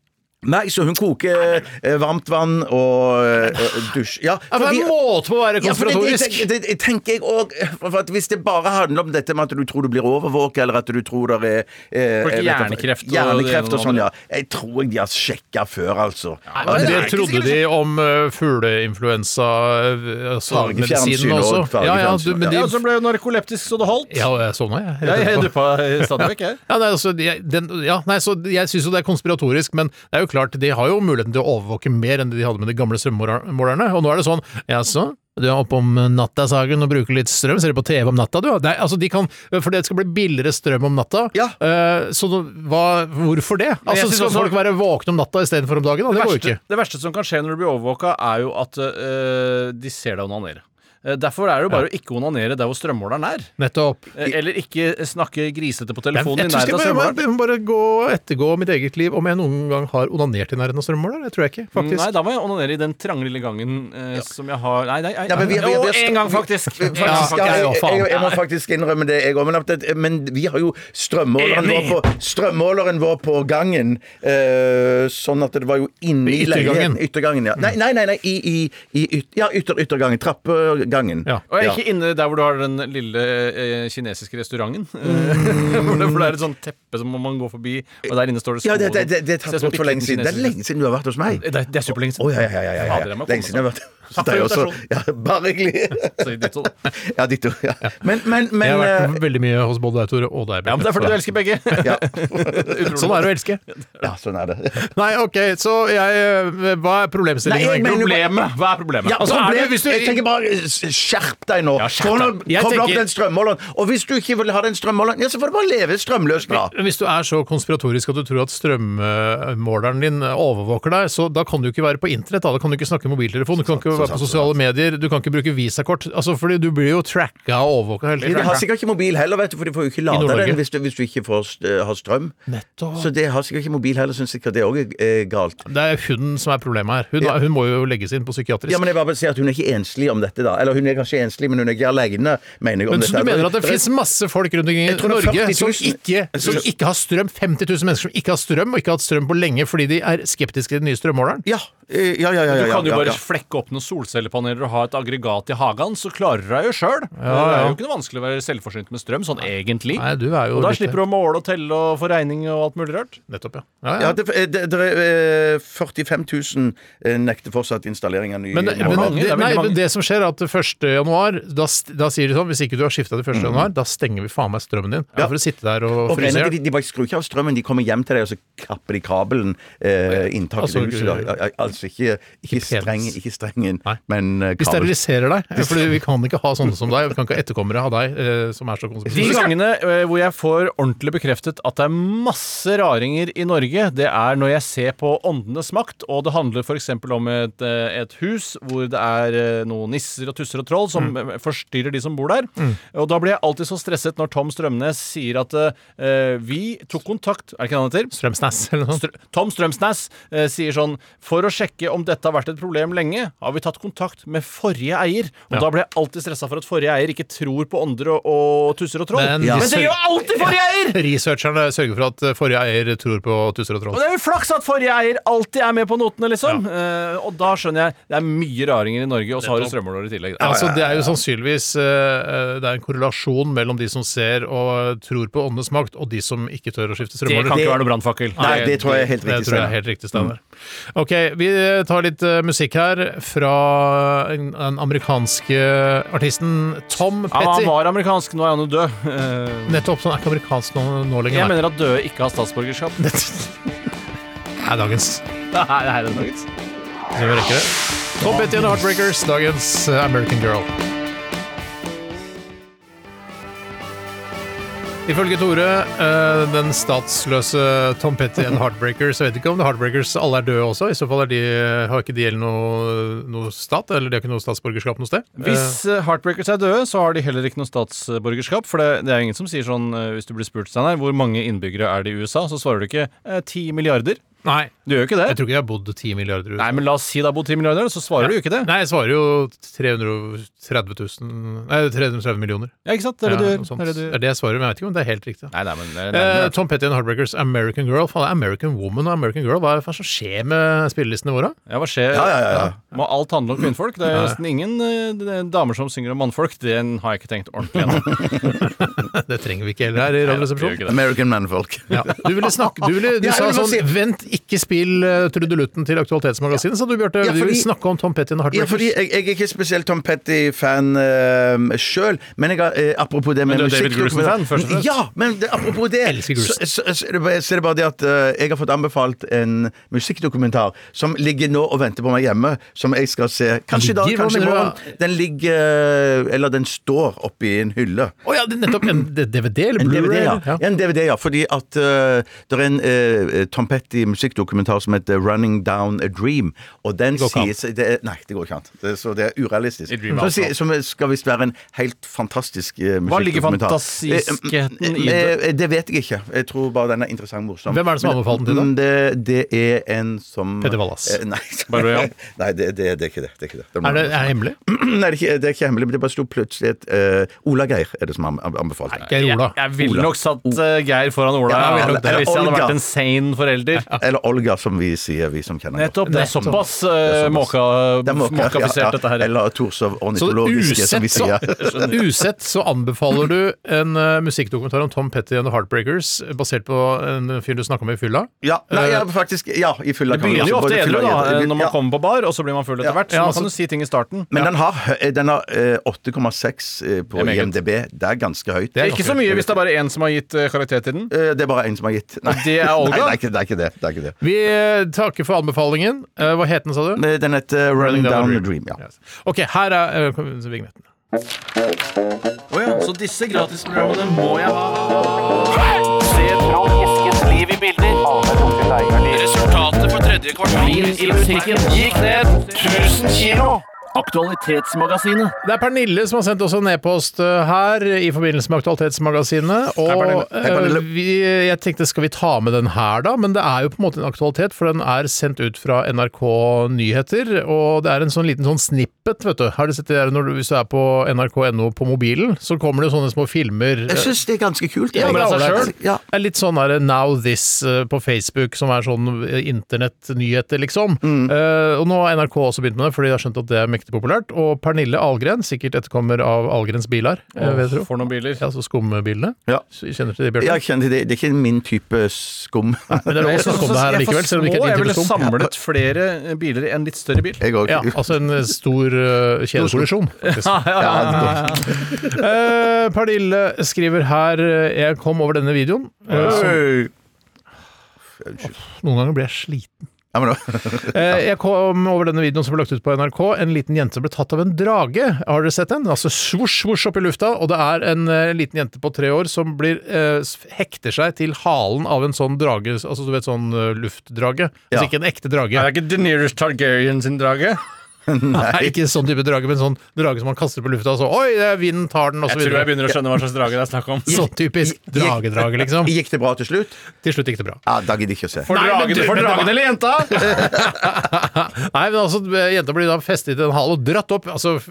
Nei, så hun koker eh, varmt vann og eh, dusj. Ja, Ja, men det er en måte på å være Ja, for det, det, konspiratorisk. det, det tenker jeg òg. For at Hvis det bare handler om dette med at du tror du blir overvåket, eller at du tror det er eh, Folk jeg vet ikke- hjernekreft og- Hjernekreft og sånn, ja. Jeg tror jeg de har sjekka før, altså. Nei, men det Nei, trodde de om uh, fugleinfluensa eh, altså, Fargefjernsyn medisinen og også. Ja, ja, fargefjernsyn, du, men de, Ja, altså- som ble jo narkoleptisk så det holdt. ja, jeg sovna, jeg. Jeg, rett jeg etterpå. duppa stadig vekk, jeg. Ja, nei, altså, jeg, den, ja, nei, så jeg syns jo det er konspiratorisk, men det er jo klart, de har jo muligheten til å overvåke mer enn de hadde med de gamle strømmålerne. Og nå er det sånn Jaså, du er oppe om natta, Sagen, og bruker litt strøm? Ser du på TV om natta, du? Nei, altså, de kan For det skal bli billigere strøm om natta. Ja. Eh, så nå- hva, hvorfor det? Altså, synes skal også- folk være våkne om natta istedenfor om dagen? Da? Det går jo ikke. verste, det verste som kan skje når du blir overvåka, er jo at eh, de ser deg onanere. Eh, Derfor er det jo bare å ikke onanere der hvor strømmåleren er. Nettopp. Eh, Eller ikke snakke grisete på Jeg, telefonen i jeg, tror jeg, nærheten av må- strømmåleren. jeg må bare gå ettergå mitt eget liv om jeg noen gang har onanert i nærheten av strømmåleren. Det tror jeg ikke, faktisk. Mm, Nei, da må jeg onanere i den trange lille gangen eh, som jeg har Nei, nei, nei. Ja, men vi- vi- vi- Jo, en gang, faktisk. vi- En gang, faktisk, ja, faktisk. jeg, ja, faen. jeg, jeg må faktisk innrømme det, jeg òg. Men, at det- men vi har jo strømmåleren vår på, strømmåleren vår på gangen. eh, sånn at det var jo inne I i yttergangen. leiligheten. Yttergangen. Ja. Nei, nei, nei, nei i, i, i yt, ja, ytter, yttergangen. Trappegangen. Ja. Og jeg er ikke inne der hvor du har den lille eh, kinesiske restauranten. hvor, det, hvor det er et sånt teppe som man går forbi, og der inne står det sko. Ja, det, det, det, det er Ser tatt ut som bort for lenge bitte siden. liten Det er lenge siden du har vært hos meg. kinesisk- Det er, det er superlenge Å, ja, ja, ja, ja, ja. Fader, jeg må Lenge komme siden jeg har meg. vært hos deg også. Ja, bare hyggelig. Så ditto, da. Ja, ditto. Ja. Men, men, jeg har men vært veldig mye hos både deg, Tore, og deg, eh, Ja, men det er fordi du elsker begge. eh, ja. Sånn er det å elske. ja, sånn er det. Nei, ok, så jeg eh, Hva er problemstillingen? Nei, jeg egentlig? mener- Problemet. Hva er problemet? Ja, Altså, er problem, det- hvis du- jeg tenker bare s- skjerp deg nå. Ja, skjerp Kom, deg. Jeg kom opp tenker- den strømmåleren. Og hvis du ikke vil ha den strømmåleren, ja, så får du bare leve strømløst, da. Hvis du er så konspiratorisk at du tror at strømmåleren din overvåker deg, så da kan du ikke være på internett, da. da kan du ikke snakke i mobiltelefon, du kan ikke være på sosiale medier, du kan ikke bruke visakort. Altså, fordi du blir jo tracka og overvåka hele De tiden. har sikkert ikke mobil heller, vet du, for de får jo ikke lada Nord-Norge. den hvis du, hvis du ikke får, st- har strøm. Nettopp. Så de har sikkert ikke mobil heller, syns sikkert det òg er eh, galt. Det er hunden som er problemet her. Hun, Ja. hun må jo legges inn på psykiatrisk. Ja, men jeg bare sier at Hun er ikke enslig om dette, da. Eller hun er kanskje enslig, men hun er ikke aleine, mener jeg. om Men så du dette. mener at det er- finnes masse folk rundt omkring i Jeg tror det er Norge 40 000 som ikke, som ikke har strøm? 50 000 mennesker som ikke har strøm, og ikke har hatt strøm på lenge fordi de er skeptiske til den nye strømmåleren? Ja, eh, ja, ja. ja, ja, Du kan jo ja, bare ja. flekke opp noen solcellepaneler og ha et aggregat i hagen, så klarer du deg jo sjøl. Det er jo ikke noe vanskelig å være selvforsynt med strøm, sånn egentlig. Nei, du er jo og da litt- slipper du å måle og telle og få regning og alt mulig rart. Nettopp, ja. ja, ja. Ja, det, det, det er eh, 45 000 eh, nekter fortsatt installering av ny Men, eh, men, måler. det, det er veldig nei, mange. men det som skjer er at 1. januar, da, st- da sier de sånn Hvis ikke du har skifta til Mm. 1. januar, da stenger vi faen meg strømmen din. Ja. For å sitte der og Og fryse regner, i de, hjel. de bare skrur ikke av strømmen. De kommer hjem til deg, og så kapper de kabelen. Eh, inntaket Altså, til huset. Da. Al- Altså ikke, ikke penis. streng, ikke strengen, Nei. men eh, Vi kabel. steriliserer deg, for vi kan ikke ha sånne som deg. Vi kan ikke ha etterkommere av deg eh, som er så De konspiratoriske. gangene eh, hvor jeg får ordentlig bekreftet at det er masse raringer i Norge, det er når jeg ser på Åndenes makt, og det handler f.eks. om et, eh, et hus hvor det er eh, noen nisser og tusser og troll som eh, forstyrrer de som bor der. Og da blir jeg alltid så stresset når Tom Strømnes sier at eh, vi tok kontakt Er det ikke det han heter? Strømsnæs eller noe sånt. Str Tom Strømsnes eh, sier sånn For å sjekke om dette har vært et problem lenge, har vi tatt kontakt med forrige eier. Og da ble jeg alltid stressa for at forrige eier ikke tror på ånder og, og tusser og troll. Men Men, de det sør- gjør alltid forrige eier! Researcherne sørger for at eh, forrige eier tror på tusser og Og troll. det er jo flaks at forrige eier alltid er med på notene, liksom. Eh, og da skjønner jeg Det er mye raringer i Norge, og så har du strømmåler i tillegg. Altså, det er jo sannsynligvis eh, eh, Det er en korrelasjon mellom de som ser og tror på åndenes makt, og de som ikke tør å skifte det strømmåler. kan ikke være noe brannfakkel. Nei, det tror jeg er helt Det riktig. Mm. tror jeg Steinar. er helt riktig, Steinar. Ok, vi tar litt eh, musikk her fra den den amerikanske artisten Tom Ja, men han Petty. var amerikansk, nå er han jo død. Eh, Nettopp, så han er ikke amerikansk nå, nå jeg lenger. Nei. mener at døde ikke har statsborgerskap. Nei, Nei, dagens. det er det dagens. Så vi rekker det. Tom Petty and The Heartbreakers, dagens eh, American Girl. Ifølge Tore, eh, den statsløse Tom Petty and The Heartbreakers Jeg vet ikke om The Heartbreakers alle er døde også. I så fall er de, har ikke de eller noe, noe stat, eller de har ikke noe statsborgerskap noe sted. Hvis eh, Heartbreakers er døde, så har de heller ikke noe statsborgerskap. For det, det er ingen som sier sånn, eh, hvis du blir spurt, Steinar, hvor mange innbyggere er det i USA, så svarer du ikke eh, 10 milliarder. Nei. Du gjør jo ikke Jeg det. tror ikke jeg har bodd 10 milliarder i USA. Nei, men la oss si det har bodd 10 milliarder, så svarer du jo ikke det. Nei, jeg svarer jo 330 000 Nei, 330 millioner. Ja, ikke sant? Det er det du Ja, sånn. gjør. noe sånt. Det er det du Det gjør. er det jeg svarer, men jeg vet ikke om det er helt riktig. Nei, nei, men det er Eh, nærmere. Tom Petty and the Heartbreakers, American Girl. Faen, det er American Woman og American Girl. Hva er det som skjer med spillelistene våre? Ja, hva skjer? Ja, ja, ja, ja. Må alt handle om kvinnfolk? Det er nesten ingen eh, det er damer som synger om mannfolk. Den har jeg ikke tenkt ordentlig gjennom. Det trenger vi ikke heller her i Gjør Radioresepsjonen. ikke det. American Man-folk. Ja. Du ville snakke Du, ville, du Ja, jeg sa ville bare sånn si- Vent, ikke spill eh, trudelutten til Aktualitetsmagasinet, sa du, Bjarte. Ja, Du vil fordi- snakke om Tom Petty and the Ja, Heartbreakers. fordi jeg, jeg er ikke spesielt Tom Petty-fan uh, sjøl, men jeg har, eh, apropos det med du er David musikk Grusen-fan, først og fremst. Ja, men det, apropos det elsker Grusen. Så, så, så, er det bare- så er det bare det at eh, jeg har fått anbefalt en musikkdokumentar som ligger nå og venter på meg hjemme, som jeg skal se kanskje i dag, Ligger? Hva kanskje i mener du da? morgen. Den ligger eh, Eller den står oppi en hylle. Å ja, det er nettopp en d- DVD eller En DVD, Blu-ray? ja. eller? Ja. En DVD, ja. Fordi at eh, det er en eh, Tom Petty-musikkdokumentar som heter 'Running Down a Dream'. Og den går ikke an. sier seg det er, Nei, det går ikke an. Det, er- så det er urealistisk. I Dream altså. Som, House, sier, som skal visst være en helt fantastisk eh, musikkdokumentar. Hva ligger fantasiskheten i Eh, det? eh, Det vet jeg ikke. Jeg tror bare den er interessant og morsom. Hvem er det som Men- anbefaler den til deg? Mm, Det, det er en som Petter Wallas. Eh, Nei, Bare Royal? nei det, det, det er ikke det. det, er ikke det. Er det er det hemmelig? Nei, det er ikke, det er ikke hemmelig, men det bare sto plutselig et eh, Ola Geir er det som han anbefalte. den. Geir Ola. Jeg ville nok satt eh, Geir foran Ola Ja, jeg ville nok det, eller hvis jeg hadde Olga. vært en sane forelder. Eller Olga, som vi sier, vi som kjenner henne. Nettopp. Det er såpass eh, måka, Det er måka, måkafisert, ja, ja. dette her. Eller Torshov Så ornitologiske, usett som vi så, sier. usett så anbefaler du en eh, musikkdokumentar om Tom Petty and the Heartbreakers, basert på en fyr du snakka med i fylla. Ja, nei, ja, faktisk, ja, i fylla Eh, Det begynner jo ofte edru da, eh, når man kommer på bar, og så blir man full etter Ja. hvert. Så Ja, man så- kan jo si ting i starten. Men den har, hø- den har eh, 8,6 eh, på er meget. IMDb. Det er ganske høyt. Det er ikke så mye hvis det er bare én som har gitt eh, karakter til den. Eh, Det er bare én som har gitt. Nei, det er Olga? Nei, det er ikke det. Er ikke det, det, er ikke det. Vi eh, takker for anbefalingen. Eh, Hva het den, sa du? Men Den heter eh, Running Down a Dream. ja. Ok, her er eh, kom- vignetten. Så disse gratisprogrammene må jeg ha. Resultatet for tredje kvartal i musikken gikk ned 1000 kilo. Aktualitetsmagasinet. Det er Pernille som har sendt oss en e-post eh, her i forbindelse med Aktualitetsmagasinet. Og Pernille. Hei, Pernille. eh, vi, jeg tenkte skal vi ta med den her, da? Men det er jo på en måte en aktualitet, for den er sendt ut fra NRK Nyheter. Og det er en sånn liten sånn snippet, vet du. Har du sett det der når du, hvis du er på nrk.no på mobilen, så kommer det jo sånne små filmer. Jeg syns det er ganske kult. Ja, Kommer av seg ålreit. altså, selv. Ja. Det er litt sånn der, Now This eh, på Facebook, som er sånn eh, internettnyheter, liksom. Mm. Eh, og nå har NRK også begynt med det, fordi de har skjønt at det er mektig populært. Og Pernille Algren, sikkert etterkommer av Algrens biler, eh, vil jeg tro. For noen biler. Ja, altså skumbilene. Ja. Så vi Kjenner til det, Bjarte? Jeg kjenner det, det er ikke min type skum. Men det er lov Jeg å snakke om det her likevel, selv om det ikke er jeg din ville type skum. samlet flere eh, biler i en litt større bil. Jeg òg. Ja, altså en eh, stor eh, kjedekollisjon. faktisk. Eh, Pernille skriver her eh, Jeg kom over denne videoen. Eh, altså- så noen ganger blir jeg sliten. Ja, men, Eh, Jeg kom over denne videoen som ble lagt ut på NRK. En liten jente ble tatt av en drage. Har dere sett den? Altså svosj, svosj opp i lufta. Og det er en eh, liten jente på tre år som blir, eh, s- hekter seg til halen av en sånn drage, altså du vet sånn eh, luftdrage. Ja. Altså ikke en ekte drage. Er det ikke De Nearest Targaryen sin drage? Nei, ikke sånn type drage, men sånn drage som man kaster på lufta, og så oi, det er vinden tar den, og så Jeg tror jeg videre. begynner å skjønne hva slags drage det er snakk om. Sånn typisk dragedrage, liksom. Gikk det bra til slutt? Til slutt gikk det bra. Ja, Da gidder jeg ikke å se. For Nei, men dragen, du- for men det dragen var- eller jenta? Nei, men altså, jenta blir da festet i en hal og dratt opp altså, f-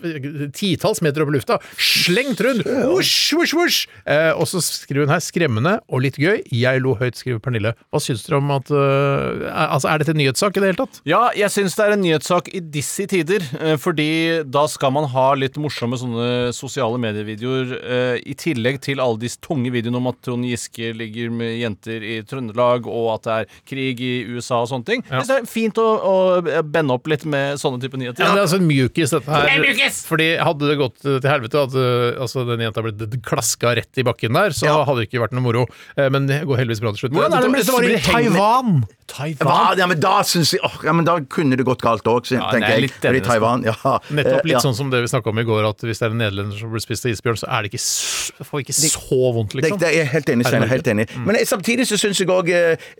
titalls meter opp i lufta. Slengt rundt! Vosj, vosj, vosj! Eh, og så skriver hun her, skremmende og litt gøy, jeg lo høyt, skriver Pernille. Hva syns dere om at eh, er- Altså, er dette en nyhetssak i det hele tatt? Ja, jeg syns det er en nyhetssak i disse tider. eh, Fordi da skal man ha litt morsomme sånne sosiale medievideoer eh, i tillegg til alle de tunge videoene om at Trond Giske ligger med jenter i Trøndelag, og at det er krig i USA og sånne ting. Jeg synes Det er fint å, å bende opp litt med sånne type nyheter. Ja, men det er altså en mjukis, dette her. Det er en mjukis! Fordi hadde det gått eh, til helvete, hadde eh, altså, den jenta blitt d- klaska rett i bakken der, så hadde det ikke vært noe moro. Eh, Men det går heldigvis bra til slutt. Hvordan er det med Dette var i disse Taiwan! Ja, ja, men da synes jeg åh, ja, men da kunne det gått galt òg, Ja, det tenker er jeg. litt- det I Taiwan, ja. Nettopp litt Eh, ja. sånn som det vi snakka om i går, at hvis det er en nederlender som blir spist av isbjørn, så er det ikke, s- får ikke så vondt, Det, liksom. det er jeg helt enig, Steinar. Norge? Helt enig. Men eh, samtidig så syns jeg òg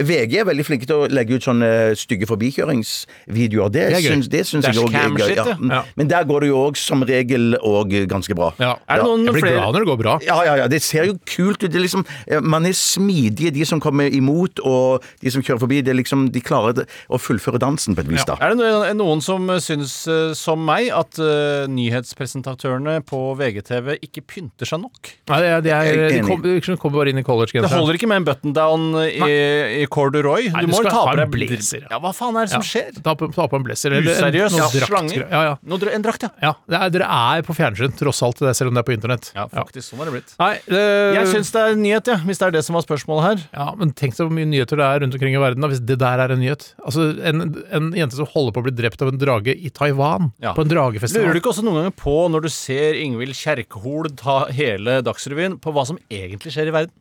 VG er veldig flinke til å legge ut sånne eh, stygge forbikjøringsvideoer. Det, Det er gøy. syns- det syns jeg òg er gøy. Dashcam-shit, Ja. ja. Mm. Ja. Men der går det jo òg som regel òg ganske bra. Ja. Er det noen Jeg blir flere- glad når det går bra. Ja, ja, ja, det ser jo kult ut. Det er liksom, eh, man er smidige, de som kommer imot, og de som kjører forbi. Det er liksom, de klarer det- å fullføre dansen på et vis, da. Er det noen, noen som eh, syns eh, som meg at eh, nyhetspresentatørene på VGTV ikke pynter seg nok? Nei, det er, det er, Jeg er de kom- de kommer bare inn i Det collegegenseren. holder ikke med en button down i, i corduroy. Nei, Du du må skal ta ha på en deg blazer, ja. Ja, hva faen er det som skjer? Ta på, ta på en blazer eller en- Useriøs. noen Ja. drakt- Slanger. Ja, ja. Nå dra- en drakt, ja. ja det er, dere er på fjernsyn, tross alt, det, selv om det er på internett. Ja, faktisk. Sånn har det blitt. Nei, det, Jeg syns det er en nyhet, ja, hvis det er det som var spørsmålet her. ja, men tenk deg hvor mye nyheter det er rundt omkring i verden da, hvis det der er en nyhet. Altså, En, en jente som holder på å bli drept av en drage i Taiwan, Ja. på en Lurer du dragefestival. ikke også noen ganger på, når du ser Ingvild Kjerkehol ta hele Dagsrevyen, på hva som egentlig skjer i verden?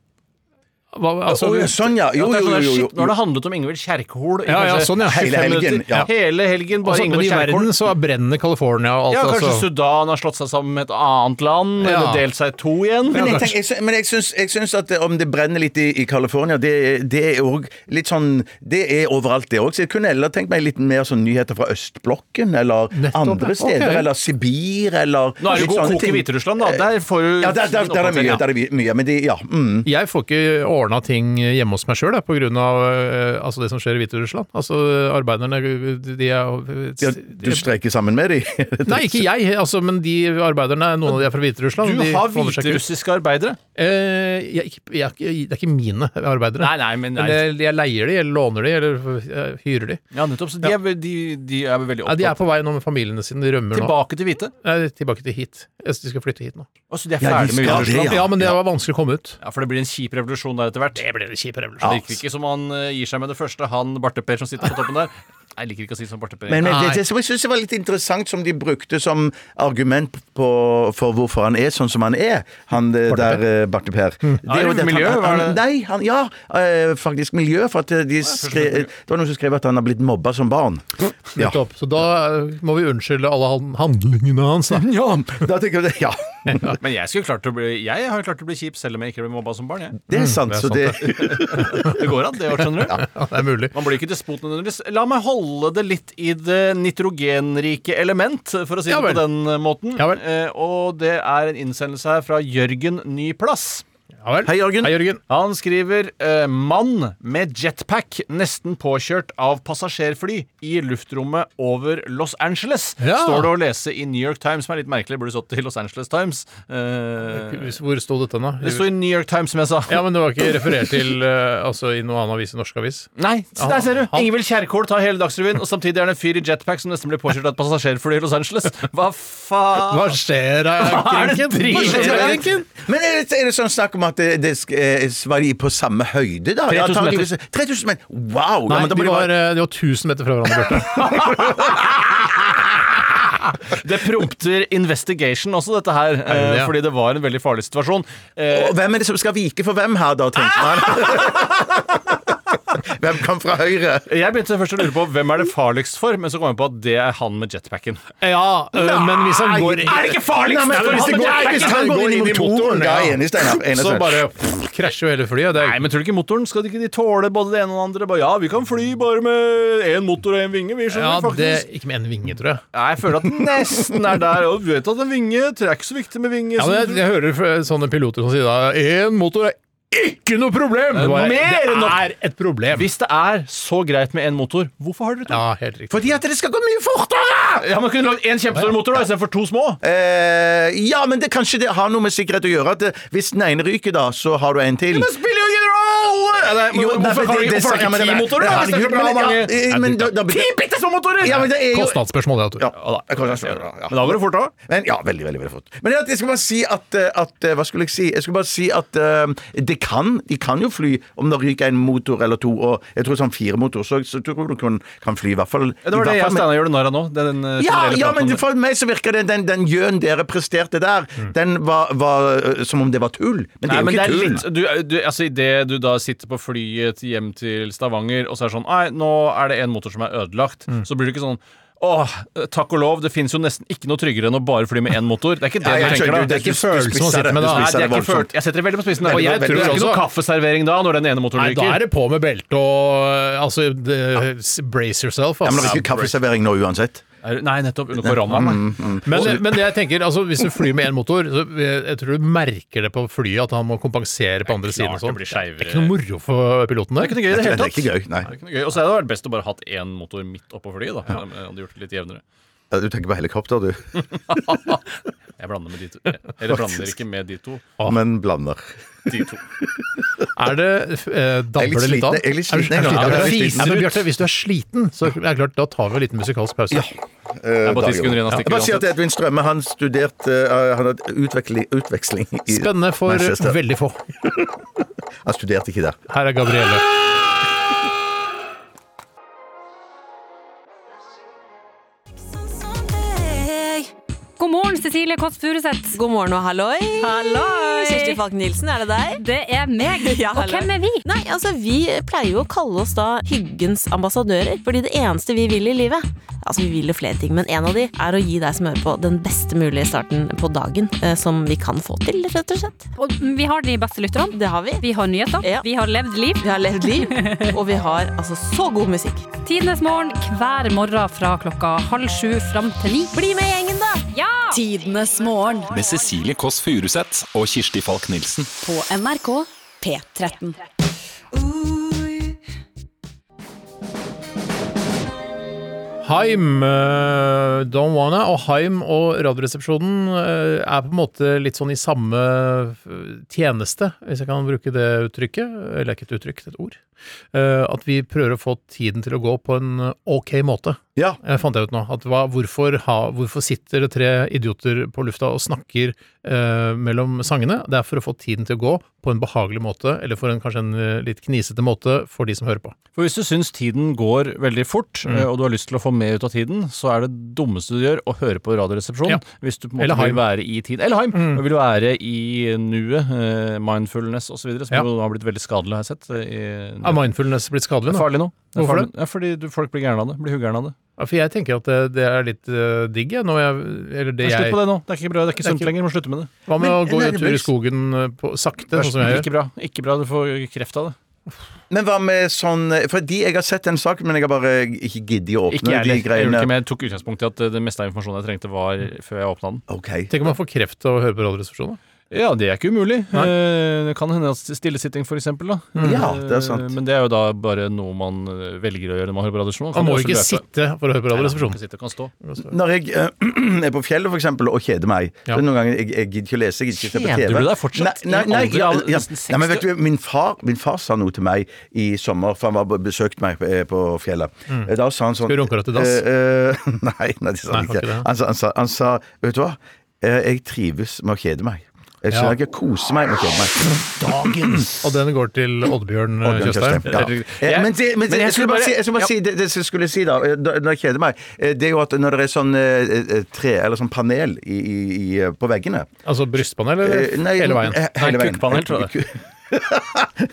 Hva, altså, Å, ja, sånn, ja. Jo, At det er jo, sånn der, jo. jo, shit, Nå har jo. det handlet om Ingvild Kjerkehol i Ja, ja, kanskje sånn, ja. 25 Hele helgen, minutter. ja. Hele helgen bare altså, men Ingvild i verden Kjerkehol. så brenner California og alt. Ja, kanskje altså. Sudan har slått seg sammen med et annet land, Ja. eller delt seg i to igjen. Men jeg, tenker, jeg, sy- men jeg, syns, jeg syns at eh, om det brenner litt i, i California, det, det er òg litt sånn Det er overalt, det òg. Så jeg kunne heller tenkt meg litt mer sånn nyheter fra østblokken, eller Nettopp, ja. andre steder, Ok. eller Sibir, eller Nå er det litt jo god sånne kok i ting. Eh, Hviterussland, da. Der får du Ja, der, der, der er mye. Der er mye, mye men de, ja. Mm. Jeg får ikke ordna ting hjemme hos meg sjøl pga. Uh, altså det som skjer i Hviterussland. Altså, arbeiderne de er Eh, Ja, du streiker sammen med de? Nei, ikke jeg, altså, men de arbeiderne, noen av de er fra Hviterussland. Du de har holder seg ikke ut. hviterussiske arbeidere. Eh, jeg, er ikke- jeg, er ikke- det er ikke mine arbeidere. Nei, nei, men nei. Jeg, jeg leier de, eller låner de, eller eh, hyrer de. Ja, nettopp. Så de er, de, de er Nei, veldig opptatt. de er på vei nå med familiene sine, de rømmer nå. Tilbake til hvite. Nei, tilbake til hit. Jeg synes De skal flytte hit nå. Altså, de er Ja, de ferdig med skal det, Hviterussland. Ja, men det var vanskelig å komme ut. Ja, for det blir en kjip revolusjon der etter hvert. Det blir en kjip revolusjon. Det virker ikke som han eh, gir seg med det første, han Barte Per som sitter på toppen der. Nei, Jeg liker ikke å si det som Barte Per. Men, men Nei. det, det som jeg syns var litt interessant, som de brukte som argument på, for hvorfor han er sånn som han er, han eh, der eh, Barte Per Hm. Det Ja, er jo det at miljø, han, var han, det? Nei, han Ja, eh, faktisk miljø. For at eh, de skre, det var noen som skrev at han har blitt mobba som barn. Ja. Hm, Nettopp. Så da eh, må vi unnskylde alle han- handlingene hans. Da. ja, da tenker jeg det- Ja, Men jeg, skulle klart å bli, jeg har jo klart å bli kjip selv om jeg ikke ble mobba som barn. Jeg. det er sant. Hm, det er Så det Det går an, det òg, skjønner du. Ja, det er mulig. Man blir ikke despot nødvendigvis. La meg holde det litt i det nitrogenrike element, for å si Ja det på vel. den måten. Ja vel. Eh, og det er en innsendelse her fra Jørgen Nyplass. Ja vel. Hei, Jørgen. Hei, Jørgen. Han skriver eh, 'Mann med jetpack nesten påkjørt av passasjerfly i luftrommet over Los Angeles'. Ja. Står det å lese i New York Times, som er litt merkelig. Burde stått i Los Angeles Times. Eh, Hvor sto dette nå? det står i New York Times, som jeg sa. Ja, men det var ikke referert til eh, altså, i noen annen avis enn Norsk Avis. Nei, så der ser du! Han- Ingvild Kjerkol tar hele Dagsrevyen, og samtidig er det en fyr i jetpack som nesten blir påkjørt av et passasjerfly i Los Angeles. Hva faen? Hva skjer da, Ah. er det Krinken? Hva driver skjer da, med? Krinken? Men er det, er det sånn snakk om at det, det sk- eh, var de på samme høyde, da? 3000 meter. Antageligvis- 3000 meter! Wow! ja, Nei, men da de må det var, være- eh, de var 1000 meter fra hverandre, Bjarte. Det prompter investigation også, dette her. det det, eh, ja? Fordi det var en veldig farlig situasjon. Eh, Og hvem er det som skal vike for hvem her, da, tenker Ah! man. hvem kom fra høyre? Jeg begynte først å lure på hvem er det farligst for, men så kom jeg på at det er han med jetpacken. Ja, eh, men hvis han går ikke farligst? Nei, men for hvis det går, hvis han går inn i motoren Ja, ja. enig, Steinar. enig, så Steinar. bare pff, krasjer jo hele flyet. Det Nei, er, men tror du ikke motoren? Skal de ikke de tåle både det ene og det andre? Bare, ja, vi kan fly bare med én motor og én vinge, vi ja, skjønner det, faktisk. ikke med en vinge, tror jeg. Nei, jeg føler at den nesten er der. Og du vet at en vinge det er ikke så viktig med vinge. Ja, men jeg, jeg hører fra sånne piloter som sier da én motor er ikke noe problem! Det, mer enn nok. er et problem. Hvis det er så greit med én motor, hvorfor har dere to? Ja, helt riktig. Fordi at det skal gå mye fortere! Ja, Man kunne lagd én kjempestor motor da, istedenfor to små. Eh, ja, men det, kanskje det har noe med sikkerhet å gjøre. At eh, hvis den ene ryker, da, så har du en til. spiller jo ingen rolle! Ja, nei, men Jo, nei, Hvorfor men har de det- det- hvorfor har de ja, men ikke det- ti motorer? da, hvis det er så herregud, bra men- mange? ja, eh, men da- da- Ti bitte små motorer! Ja, men det er jo Kostnadsspørsmål, det, Ja, tror jeg. ja, ja. Men da går det fort òg. Men ja, veldig, veldig, veldig fort. Men jeg skal bare si at, eh, at eh, Hva skulle jeg si? Jeg skulle bare si at eh, det kan, de kan jo fly om det ryker en motor eller to, og jeg tror sånn fire motor, så, så tror jeg du kan, kan fly i hvert fall Ja, det var det jeg og Steinar gjorde narr av nå. Det er den eh, ja, generelle ja, praten men om det. Mm. for meg så virker det den, den gjøn dere presterte der, den var, var eh, som om det var tull. Men det Nei, er jo men det ikke er tull. litt du, du, altså, Idet du da sitter på flyet til- hjem til Stavanger, og så er det sånn Nei, nå er det en motor som er ødelagt. Så blir du ikke sånn Åh, takk og lov, det finnes jo nesten ikke noe tryggere enn å bare fly med én motor. Det er ikke det Ja, jeg du tenker, skjønner, da. det er ikke følelsen man sitter med, da. Nei, det er ikke voldsomt. følt. Jeg setter det veldig på spissen. Der. Og jeg Veldig, tror det er veldig ikke noe også. kaffeservering da, når den ene motoren Nei, da er ryker. det på med belte og Altså, det, brace yourself. Ja, men det Altså. blir ikke kaffeservering nå uansett. Er det- Nei, nettopp. Under koronaen. Men, men jeg tenker, altså, hvis du flyr med én motor, så jeg, jeg tror du merker det på flyet at han må kompensere på andre siden. og klart sånn. det blir Det skeivere. er ikke noe moro for piloten Det der. er ikke noe gøy i det Det hele er tatt. ikke gøy, nei. Det er ikke noe gøy. Og så hadde det vært best å bare hatt én motor midt oppå flyet, da. Hadde gjort det litt jevnere. Ja, Du tenker på helikopter, du. Jeg blander med de to. Eller blander ikke med de to. Men blander. De to. Er det eh, Jeg er litt Damper det litt av? sliten, jeg er litt sliten, jeg er Er du- er du sliten, jeg er litt sliten. Nei, men Bjarte, hvis du er sliten, så er det klart, da tar vi en liten musikalsk pause. Det er bare ti sekunder igjen av Eh, Jeg bare sier at stikket. Edvin Strømme han studerte eh, Han hadde utveksling, utveksling i Spennende for Manchester. veldig få. Han studerte ikke der. Her er Gabrielle. God morgen, Cecilie Kåss Furuseth. God morgen og halloi. Halloi! Kjersti Falk Nilsen, er det deg? Det er meg. Ja, og hvem er vi? Nei, altså Vi pleier jo å kalle oss da hyggens ambassadører, fordi det eneste vi vil i livet Altså, vi vil jo flere ting, men en av de er å gi deg som hører på, den beste mulige starten på dagen eh, som vi kan få til, rett og slett. Og vi har de beste lytterne. Det har vi. Vi har nyheter. Ja. Vi har levd liv. Vi har levd liv, og vi har altså så god musikk. Tidenes morgen hver morgen fra klokka halv sju fram til ni. Bli med i gjengen, da! Ja! Tidenes morgen Med Cecilie Kåss Furuseth og Kirsti Falk Nilsen. på NRK P13. Heim, eh, Don't Wanna og Heim og Radioresepsjonen eh, er på en måte litt sånn i samme eh, tjeneste, hvis jeg kan bruke det uttrykket. Eller ikke et uttrykk, det er et ord. Eh, At vi prøver å få tiden til å gå på en eh, ok måte. Ja. Jeg fant jeg ut nå. At hva, hvorfor, ha, hvorfor sitter det tre idioter på lufta og snakker eh, mellom sangene? Det er for å få tiden til å gå på en behagelig måte, eller for en, kanskje en eh, litt knisete måte for de som hører på. For hvis du syns tiden går veldig fort, eh, og du har lyst til å få mer ut av tiden, så er det dummeste du gjør å høre på Radioresepsjonen. Ja. Hvis du på en måte Eller vil Haim. være i tid. Eller Haim! Og vil du være i nuet, eh, mindfulness osv., som Ja. jo har blitt veldig skadelig, har jeg sett. eh, I, Er mindfulness blitt skadelig det er nå? farlig nå. Det er Hvorfor farlig. Ja, fordi du, folk blir gærne av det. Blir huggærne av det. Ja, for jeg tenker at det, det er litt eh, digg, jeg. Når jeg eller det Nei, Slutt på jeg det nå. Det er ikke bra. Det er Det ikke er sunt ikke- lenger. Du må slutte med det. Hva med å Men- gå nei, en det tur i blir- skogen eh, på, sakte, sånn som jeg gjør? Ikke bra. Ikke bra. Du får kreft av det. Men hva med sånn For de, jeg har sett den saken, men jeg har bare ikke giddet å åpne Ikke jeg de heller. Jeg, gjorde greiene. ikke, men jeg tok utgangspunkt i at eh, det meste av informasjonen jeg trengte, var før jeg åpna den. Ok. Tenk om man får kreft av å høre på Radioresepsjonen? da. Ja, det er ikke umulig. Eh, Det kan hende at stillesitting, for eksempel. Da. Mm. Ja, det er sant. Eh, Men det er jo da bare noe man eh, velger å gjøre når man hører på radiosjonen. Man må jo ikke sitte for å høre på Radioresepsjonen. kan stå. Når jeg eh, er på fjellet, for eksempel, og kjeder meg Ja. så Noen ganger jeg, jeg gidder ikke å lese, jeg gidder ikke å se på TV. Kjeder du deg fortsatt? Nei, nei, nei, I en alder ja, av ja, nesten nei men vet du, min far, min far sa noe til meg i sommer, for han var besøkt meg eh, på fjellet. Eh, Da sa han sånn Skal du runke deg til dass? eh, eh, nei, nei, det sa Nei, han var ikke ikke. det. Han sa, han, sa, han sa Vet du hva, Eh, jeg trives med å kjede meg. Jeg Ja. synes jeg koser meg med å kjede meg. Og den går til Oddbjørn eh, Tjøstheim. Ja. Eh, Men, det, men det, jeg skulle bare, si- jeg skulle bare si det, det jeg skulle si da, eh, da- når jeg kjeder meg, eh, det er jo at når det er sånn eh, eh, tre, eller sånn panel i, i, i, eh, på veggene Altså brystpanel, eller Eh, nei, hele veien? eh, hele Nei, veien. kukkpanel, tror jeg.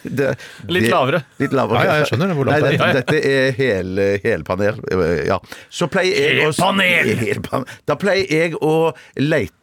Det- Litt det- lavere. Litt Ja, lavere. ja, jeg skjønner det, hvor langt Nei, det dette, dette er hel, helpanel. eh, Ja. Så pleier jeg Helpanel! Helpanel. Da pleier jeg å leite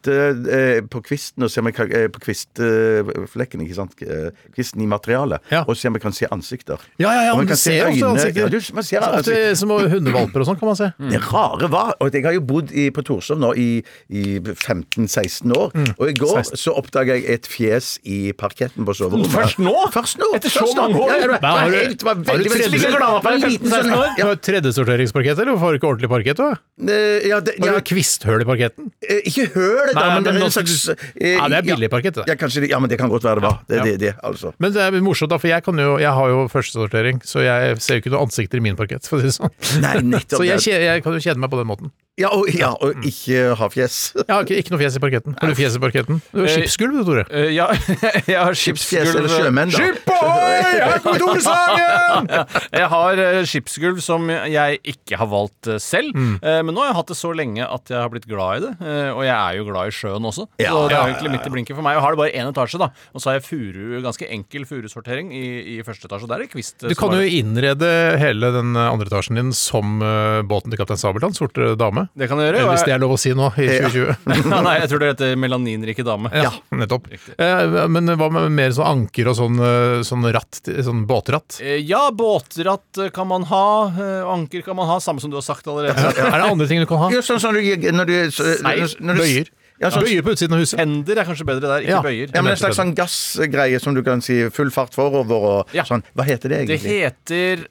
eh, på kvisten og se om jeg kan eh, På kvistflekken, ikke sant? Eh, Kvisten i materialet. Ja. Og se om jeg kan se ansikter. Ja, ja, ja, men Og man du kan se ser ofte øynene. ansikter. Altså, Ja, du, man ser Ofte ansikter. som hundevalper og sånn kan man se. Mm. Det rare var Og jeg har jo bodd i, på Torshov nå i, i 15-16 år. Mm. Og i går så oppdaga jeg et fjes i parketten på soverommet. Først nå? Først nå! Etter så Først nå. mange år? Ja, ja, Nei, det var har du- helt- det var har du veldig, veldig tredje- spesielt. Det var en liten Liten sånn- sånn- Du har tredjesorteringsparkett, eller får du ikke ordentlig parkett? da? Eh, ja, det, Har ja, du kvisthull i parketten? eh, ikke høl, da, Nei, men det men nå- er en slags eh, Ja, det er billig parkett, det. Ja, kanskje det, ja, men det kan godt være det var. Det Ja. er det, det, altså. Men det er morsomt, da, for jeg, kan jo, jeg har jo førstesortering, så jeg ser jo ikke noen ansikter i min parkett. For å si det sånn. Nei, nettopp Så jeg, det. kje- jeg kan jo kjede meg på den måten. Ja, og, ja, og ikke ha fjes. Jeg har ikke, ikke noe fjes i parketten. Har du fjes i parketten? Du har skipsgulv, du, Tore. Eh, ja, jeg har Skipsfjes eller sjømenn, da. Skip på! Ahoy! Her kommer Tore-sangen! Jeg har eh, skipsgulv som jeg ikke har valgt eh, selv, Mm. eh, men nå har jeg hatt det så lenge at jeg har blitt glad i det. eh, Og jeg er jo glad i sjøen også, Ja, så det ja, ja, er jo egentlig midt i blinken for meg. Jeg har det bare én etasje, da. Og så har jeg furu, ganske enkel furusortering i, i første etasje. og Der er det kvist. eh, Du som kan jo er- innrede hele den andre etasjen din som eh, båten til Kaptein Sabeltann, Sorte dame. Det kan jeg gjøre, Eller, og Eh, Hvis det jeg- er lov å si nå, i 2020. Nei, nei, jeg tror det heter melaninrike dame. Ja, nettopp. Eh, men hva med mer sånn anker og sånn, eh, sånn ratt, sånn båtratt? Eh, Ja, båtratt eh, kan man ha, eh, anker kan man ha, samme som du har sagt allerede. Er det andre ting du kan ha? Ja, sånn som du når du Seil, når du- bøyer. Ja, sånn- Bøyer på utsiden av huset. Hender er kanskje bedre der, ikke bøyer. Ja, men En slags sånn gassgreie som du kan si full fart forover og Ja. sånn. Hva heter det Det egentlig? heter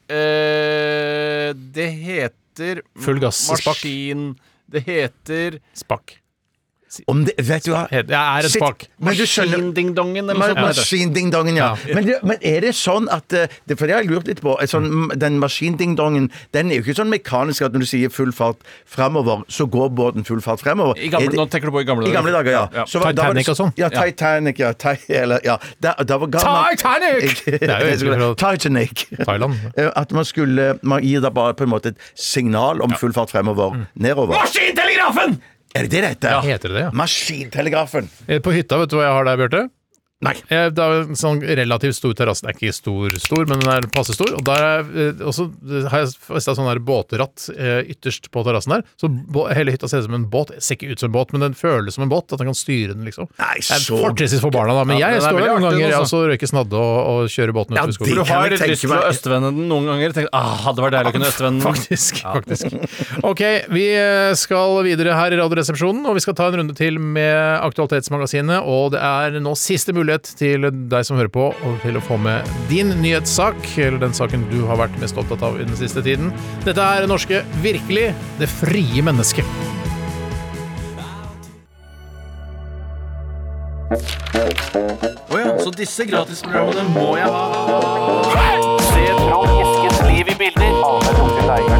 eh, Det heter Full gass, spak. Maskin Det heter Spakk. Om det, vet du hva? Jeg er en Shit, spakk. Men du skjønner Maskindingdongen eller noe Ma- sånt. Maskindingdongen, ja. Men, det, men er det sånn at eh, det, For det har jeg lurt litt på. eh, Sånn, m- den maskindingdongen Den er jo ikke sånn mekanisk at når du sier full fart fremover, så går båten full fart fremover. I gamle, Er det- nå tenker du på i gamle I dager. gamle dager, ja. Så hva- da var det- Titanic og sånn. Ja, Titanic, ja. Ti, eller, ja. Da, da var gammel- Titanic! Det er jo egentlig fra Titanic. Thailand. Eh, At man skulle Man gir da bare på en måte et signal om full fart fremover, nedover. Maskintelegrafen! Er det det det heter? Heter det det, ja? Maskintelegrafen. Eh, På hytta, vet du hva jeg har der, Bjarte? Nei. Eh, Det er en sånn relativt stor terrasse. Den er ikke stor, stor, men den er passe stor. Og der er, eh, også eh, har jeg festa sånn der båtratt eh, ytterst på terrassen der. Så bå- hele hytta ser ut som en båt. Ser ikke ut som en båt, men den føles som en båt. At den kan styre den, liksom. Nei, Det er så- Fortrinnsvis for barna, da. Men Ja, den jeg er står der noen veldig artig, altså. ganger den jeg også. også røyker snadde og, og kjører båten Ja, utover For skogen. du det har kan jeg litt lyst tenke til å meg. østvende den noen ganger. Tenk, ah, det var deilig å kunne østvende den. Faktisk. faktisk. Ok, vi eh, skal videre her i Radioresepsjonen, og vi skal ta en runde til med Aktualitetsmagasinet. Og det er nå siste mulighet til deg som hører på, og til å få med din nyhetssak, eller den saken du har vært mest opptatt av i den siste tiden. Dette er det norske Virkelig det frie mennesket. Så disse gratisprogrammene må jeg ha.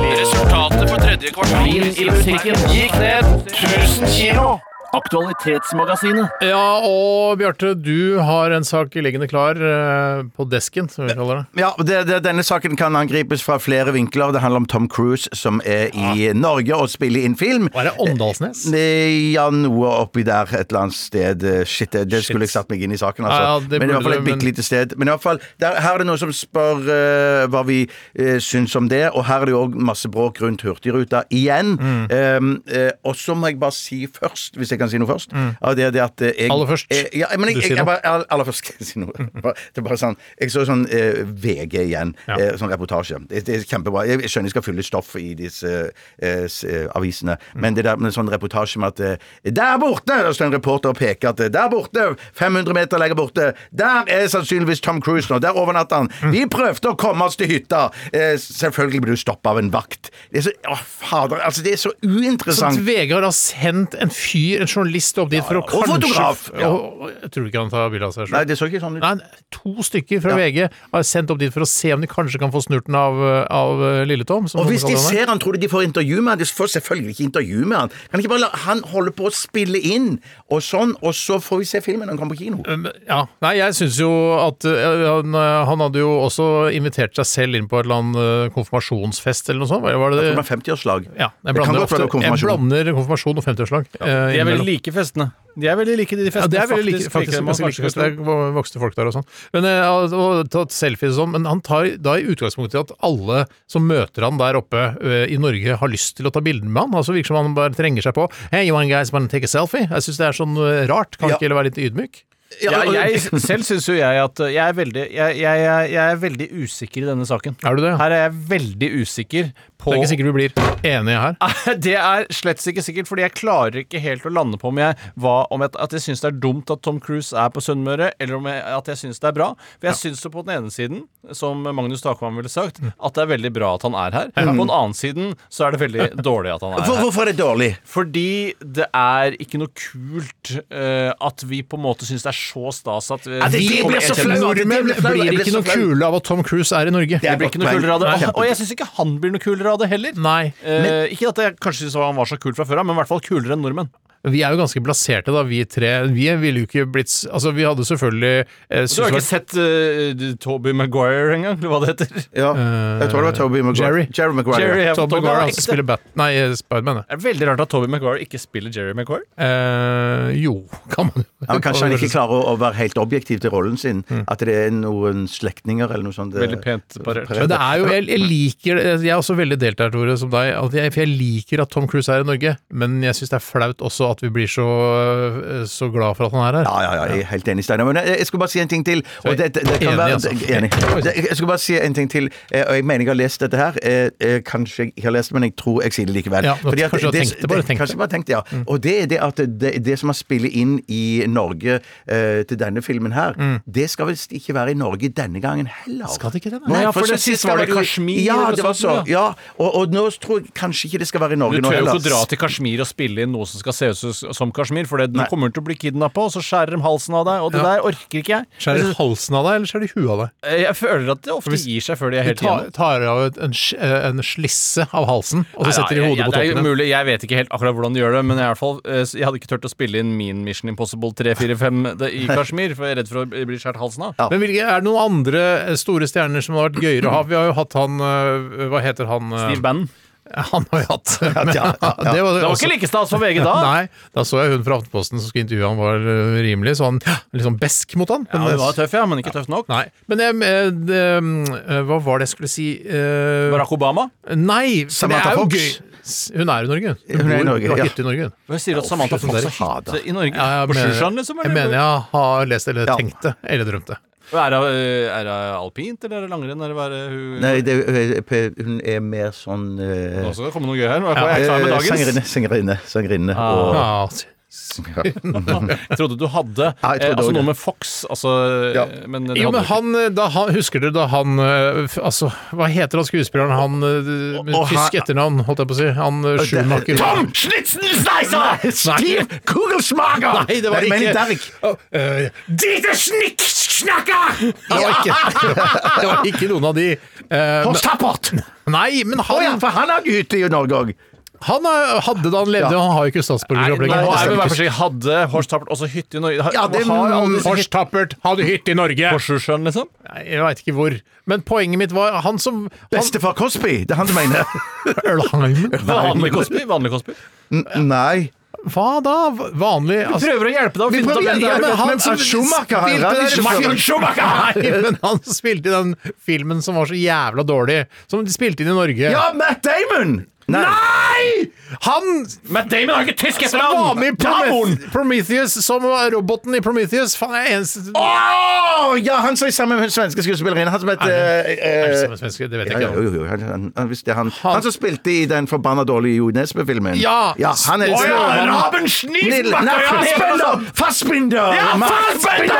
Resultatet på tredje kvartal i musikken gikk ned 1000 kilo. Aktualitetsmagasinet. Ja, og Bjarte, du har en sak liggende klar eh, på desken, som vi kaller det. Ja, det, det, Denne saken kan angripes fra flere vinkler. Det handler om Tom Cruise, som er i Norge og spiller inn film. Hva er det, Åndalsnes? Eh, Ja, noe oppi der et eller annet sted. Eh, Shit, det, det skulle jeg satt meg inn i saken, altså. Ja, ja, det men burde i hvert fall du, et men- bitte lite sted. Men i hvert fall, der, her er det noen som spør eh, hva vi eh, syns om det, og her er det jo òg masse bråk rundt Hurtigruta igjen. Mm. Eh, eh, og så må jeg bare si først, hvis jeg kan si noe først ja, det, er det at eh, jeg, Mm. Aller først. Eh, ja, men jeg, Du jeg, sier jeg, noe. bare, all- aller først skal jeg si noe. Bare- Det er bare sånn, jeg så sånn eh, VG igjen, Ja. eh, sånn reportasje. Det, det er kjempebra. Jeg skjønner jeg skal fylle stoff i disse eh, s- eh, avisene, men det der med sånn reportasje med at eh, Der borte! Der står en reporter og peker at eh, der borte, 500 meter lenger borte, der er sannsynligvis Tom Cruise nå. Der overnatter han. Vi prøvde å komme oss til hytta. Eh, selvfølgelig ble du stoppa av en vakt. Det er så, å, fader, altså det er så Sånn uinteressant. at VG har da sendt en fyr, en journalist, opp dit for å ja. kanskje Og fotograf, ja. Og- og- jeg tror ikke han tar bilde av seg selv. Nei, det så ikke sånn ut. Nei, to stykker fra VG har sendt opp dit for å se om de kanskje kan få snurten av, av eh, Lille-Tom. Og hvis de ser han, tror du de får intervju med han? De får selvfølgelig ikke intervju med han. Kan ikke bare la han holde på å spille inn, og sånn, og så får vi se filmen når han kommer på kino? ja. Nei, jeg syns jo at eh, han, eh, han hadde jo også invitert seg selv inn på et eller annet eh, konfirmasjonsfest eller noe sånt. Hva var det? Det er 50-årslag. Eh, Ja, jeg det kan blander, godt ofte, være jeg konfirmasjon. blander konfirmasjon og 50-årslag. eh, De er veldig innimellom. like festene. De er veldig like de Ja, festene. det er veldig like, faktisk, liker man ganske kanskje like. Det ikke å tro. er vo- voksne folk der og sånn. Men eh, altså, og tatt selfies og sånn, men han tar da i utgangspunktet at alle som møter han der oppe eh, i Norge, har lyst til å ta bilder med han. Altså virker som han bare trenger seg på. Hey, you want guys wanna take a selfie? Jeg syns det er sånn eh, rart. Kan Ja. ikke heller være litt ydmyk? Ja, og- jeg, selv syns jo jeg at eh, jeg er, veldig, jeg, jeg, jeg, jeg er veldig usikker i denne saken. Er du det? Her er jeg veldig usikker på Det er ikke sikkert vi blir enige her. Det er slett ikke sikkert, fordi jeg klarer ikke helt å lande på om jeg, hva, om jeg, at jeg syns det er dumt at Tom Cruise er på Sunnmøre, eller om jeg, at jeg syns det er bra. For jeg synes syns det på den ene siden, som Magnus Takvam ville sagt, Mm. at det er veldig bra at han er her. På den annen siden så er det veldig dårlig at han er Hvor- her. hvorfor er det dårlig? Fordi det er ikke noe kult eh, at vi på en måte syns det er så stas at eh, det- vi det kommer blir helt så hjem. flau, at det Nordmenn blir flau, blir jeg blir ikke så noe flau. kule av at Tom Cruise er i Norge. Det er Det blir ikke noe Nei. kulere av det. Nei. Og- Og jeg syns ikke han blir noe kulere av det heller. Nei. Eh, ikke at jeg kanskje syntes han var så kul fra før av, men i hvert fall kulere enn nordmenn. Vi er jo ganske blaserte, da, vi tre. Vi ville jo ikke blitt s- Altså, vi hadde selvfølgelig eh, Du har ikke sett uh, Toby Maguire engang, eller hva det heter? jeg tror det var Toby Maguire. Jerry. Jerry Maguire. Jerry, ja, Toby Toby Maguire, Maguire, han ekte. som spiller Bat... Nei, eh, Spiderman, ja. Det er veldig rart at Toby Maguire ikke spiller Jerry Maguire. Eh, jo, kan man jo Ja, men kanskje han ikke klarer å, å være helt objektiv til rollen sin. At det er noen slektninger eller noe sånt. eh, det- Veldig pent parert. Men det er jo, jeg, jeg liker Jeg er også veldig delt der, Tore, som deg. At jeg, for jeg liker at Tom Cruise er i Norge, men jeg syns det er flaut også at vi blir så, eh, så glad for at han er her. Ja, ja, ja, jeg er helt enig, Steinar. Men eh, jeg, jeg skulle bare si en ting til. Og det, det, det kan Enig, være, altså. enig. Det- Jeg skulle bare si en ting til, eh, og jeg mener jeg har lest dette her. Eh, eh, Kanskje jeg ikke har lest det, men jeg tror jeg sier det likevel. Ja, kanskje du har det- tenkt det, bare det- tenkt Kanskje jeg bare tenkte, ja. Og det er det at det, det som har spillet inn i Norge eh, til denne filmen her, det skal visst ikke være i Norge denne gangen heller. Skal det ikke det, da? Nei, for det sist sist var det jo- Kashmir Ja, eller det var sånt, så. Ja, og, og nå tror jeg kanskje ikke det skal være i Du Norge nå tør jo heller. ikke å dra til Kashmir og spille inn noe som skal se ut som- som Kashmir, for det, du Nei. kommer til å bli kidnappa, og så skjærer de halsen av deg, og det Ja. der orker ikke jeg. Skjærer de halsen av deg, eller skjærer de huet av deg? Jeg føler at det ofte Hvis- gir seg før de er De helt tar, igjennom. tar av et- en, sk- en slisse av halsen, og så Nei, setter de ja, hodet ja, på det er jo toppen. igjen. mulig, Jeg vet ikke helt akkurat hvordan de gjør det, men jeg, i hvert fall, eh, s- jeg hadde ikke turt å spille inn min Mission Impossible 345 det- i Kashmir, for jeg er redd for å bli skjært halsen av. Men hvilke, er det noen andre eh, store stjerner som har vært gøyere å ha? Vi har jo hatt han øh, Hva heter han? øh, Steve Bannon. Han har vi hatt. Men, ja, ja. Det var, Det var ikke like stas for VG da. Nei, da så jeg hun fra Aftenposten som skulle intervjue han var øh, rimelig sånn litt sånn besk mot han. Ja, Men- det var tøff, ja, men ikke tøff nok. Nei. Men jeg, eh, det, mm, eh, hva var det jeg skulle si eh, Barack Obama. Nei, for det Samantha er jo Fox. gøy. S- Hun er i Norge. Hun, Hun er i bor- Norge, har ja. hytte i Norge. hun. Hva sier du at Samantha fy Fox faen, har da. hytte i Norge? Ja, jeg På mener- Sjushan, liksom? Jeg mener jeg har lest eller Ja. tenkt det. Eller drømt det. Er det, eh, er det alpint, eller er det langrenn, eller hva er det hun Nei, det, eh, hun er mer sånn eh, Nå skal det komme noe gøy her. Nå er jeg klar med Eh, dagens. Sangerinne, sangerinne, sangerinne Ah. og Ja, s- Jeg trodde du hadde Ja, jeg trodde eh, altså også. noe med Fox, altså Ja. Men det Jo, men hadde du ikke. han, eh, da han Husker dere da han eh, f- Altså, hva heter han skuespilleren? Han eh, med Og- og tysk han- etternavn, holdt jeg på å si. Han eh, Schumacher. Tom Schnitzelsneiser! Steve Kugelsmager! Nei, det var Nei, men ikke Derek. Å, eh, Dieter Schnicksnacker! det, var ikke, det var ikke noen av de. Eh, Horst Tappert! men- nei, men Å ja, han, for han har ikke hytte i Norge òg. han eh, hadde da han levde, Ja. og han har jo ikke Nei, nå er statsborgeropplegget. vi hver for seg. Hadde Horst Tappert også hytte i Norge? Ja, det- har alle disse Horst Tappert hadde hytte i Norge! hyttene på Sjusjøen, liksom? Nei, Jeg veit ikke hvor. Men poenget mitt var han som han, Bestefar Cosby, det er han du mener. Ølheimen? Vanlig Cosby? Vanlig Cosby. N- Nei. Hva da? Vanlig altså, Prøver å hjelpe deg å Vi finne ut prøver å av hvem det hjelpe deg. er. Men han han som som Schumacher spilte her, han der- er ikke Michael Schumacher. Nei, men han spilte i den filmen som var så jævla dårlig, som de spilte inn i Norge. Ja, Matt Damon! Nei! Nei! Han Matt Damon har ikke tysk som var med i Promet Prometheus, som var roboten i Prometheus Faen, jeg er eneste Å, ja, han som er sammen med den svenske skuespillerinnen. Han som het Er det eh, samme svenske? Det vet Ja, jeg ja, ikke. jo, jo, han, han, han, visst, det er han, han som spilte i den forbanna dårlige Jo Nesbø-filmen. Ja. han er Å ja, han- Raben Nei, Fassbinder! altså. Fassbinder!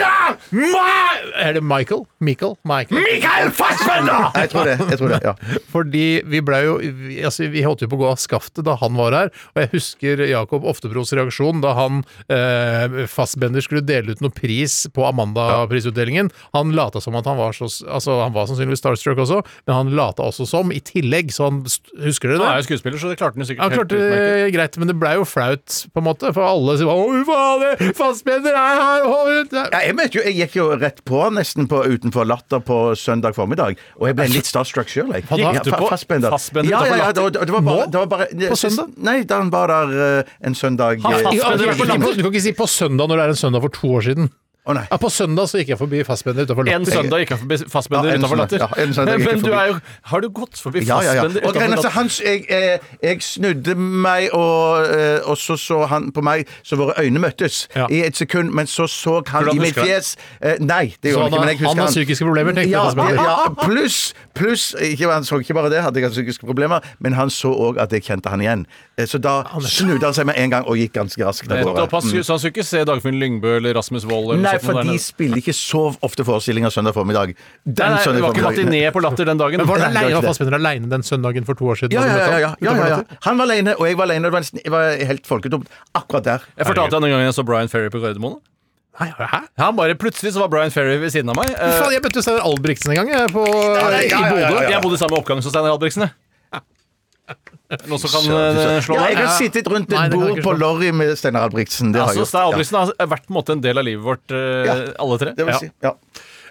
Ma- Er det Michael? Michael? Michael? Mikael Fassbinder! Jeg tror det. jeg tror det, ja. Fordi vi blei jo vi, altså, vi holdt jo på å gå av skaftet da han var her, og jeg husker Jakob Oftebros reaksjon da han eh, fastbender skulle dele ut noe pris på Amanda-prisutdelingen. Han lata som at han var så Altså, han var sannsynligvis starstruck også, men han lata også som, i tillegg, så han st- Husker dere Han det? er jo skuespiller, så det klarte han jo sikkert Han klarte det greit, men det blei jo flaut, på en måte, for alle sa 'Å, fader, fastbender er her!' hold ut!» Ja, jeg, vet jo, jeg gikk jo rett på han nesten på Utenfor Latter på søndag formiddag, og jeg ble litt starstruck sjøl. Gikk du på Fassbender Ja, ja, ja, utenfor det, var- det var bare, Nå? det var bare På søndag? Nei, da han var der eh, en søndag Han eh, Fassbender Ja, men det var du, på kan landet. ikke, du kan ikke si 'på søndag' når det er en søndag for to år siden. Å nei. Ja, på søndag så gikk jeg forbi fastbender utafor En søndag gikk jeg forbi fastbender Ja, en utenfor Latter. søndag. Ja, en søndag gikk jeg Men du forbi. er jo Har du gått forbi Ja, ja, ja. fastbender Og greien utenfor er at Latter? hans, jeg, eh, jeg snudde meg, og, eh, og så så han på meg, så våre øyne møttes Ja. i et sekund, men så så han Hvordan i mitt husker han? fjes eh, Nei, det Så gjorde han har- han ikke, men jeg husker han har psykiske problemer, tenkte ja, jeg, Hans Petter. ja, pluss plus, ikke, Han så ikke bare det, hadde ikke psykiske problemer, men han så òg at jeg kjente han igjen. Eh, Så da snudde han seg med en gang og gikk ganske raskt av Nettopp, han gårde. skulle- Så han skulle ikke se Dagfinn Lyngbø eller Rasmus Wold eller Nei, noe sånt for der de nede. spiller ikke så ofte forestillinger søndag formiddag. Den Nei, nei, det søndag var ikke formiddagen. matiné på Latter den dagen. Men var det Nei, det var alene, ikke var det. Fassbender aleine den søndagen for to år siden? Ja, altså, ja, ja, møtte han ja, ja, utenfor ja, ja. Latter? Han var alene, og jeg var alene. og Det var, nesten- det var helt folketomt akkurat der. Jeg fortalte deg den gangen jeg så Brian Ferry på Gardermoen. Nei, hæ? Ja, Han bare Plutselig så var Brian Ferry ved siden av meg. Fy Eh, Faen, jeg møtte Steinar Albrigtsen en gang, jeg, på, i Bodø. Jeg bodde i samme oppgang som Steinar Albrigtsen. jeg. Noen som kan eh, slå Ja, jeg meg? har sittet rundt Nei, det kan jeg et bord ikke på slå. Lorry med Steinar Albrigtsen. Det har Altså, jeg gjort. Stein Albrigtsen har vært på en måte en del av livet vårt, eh, Ja, alle tre. det vil si,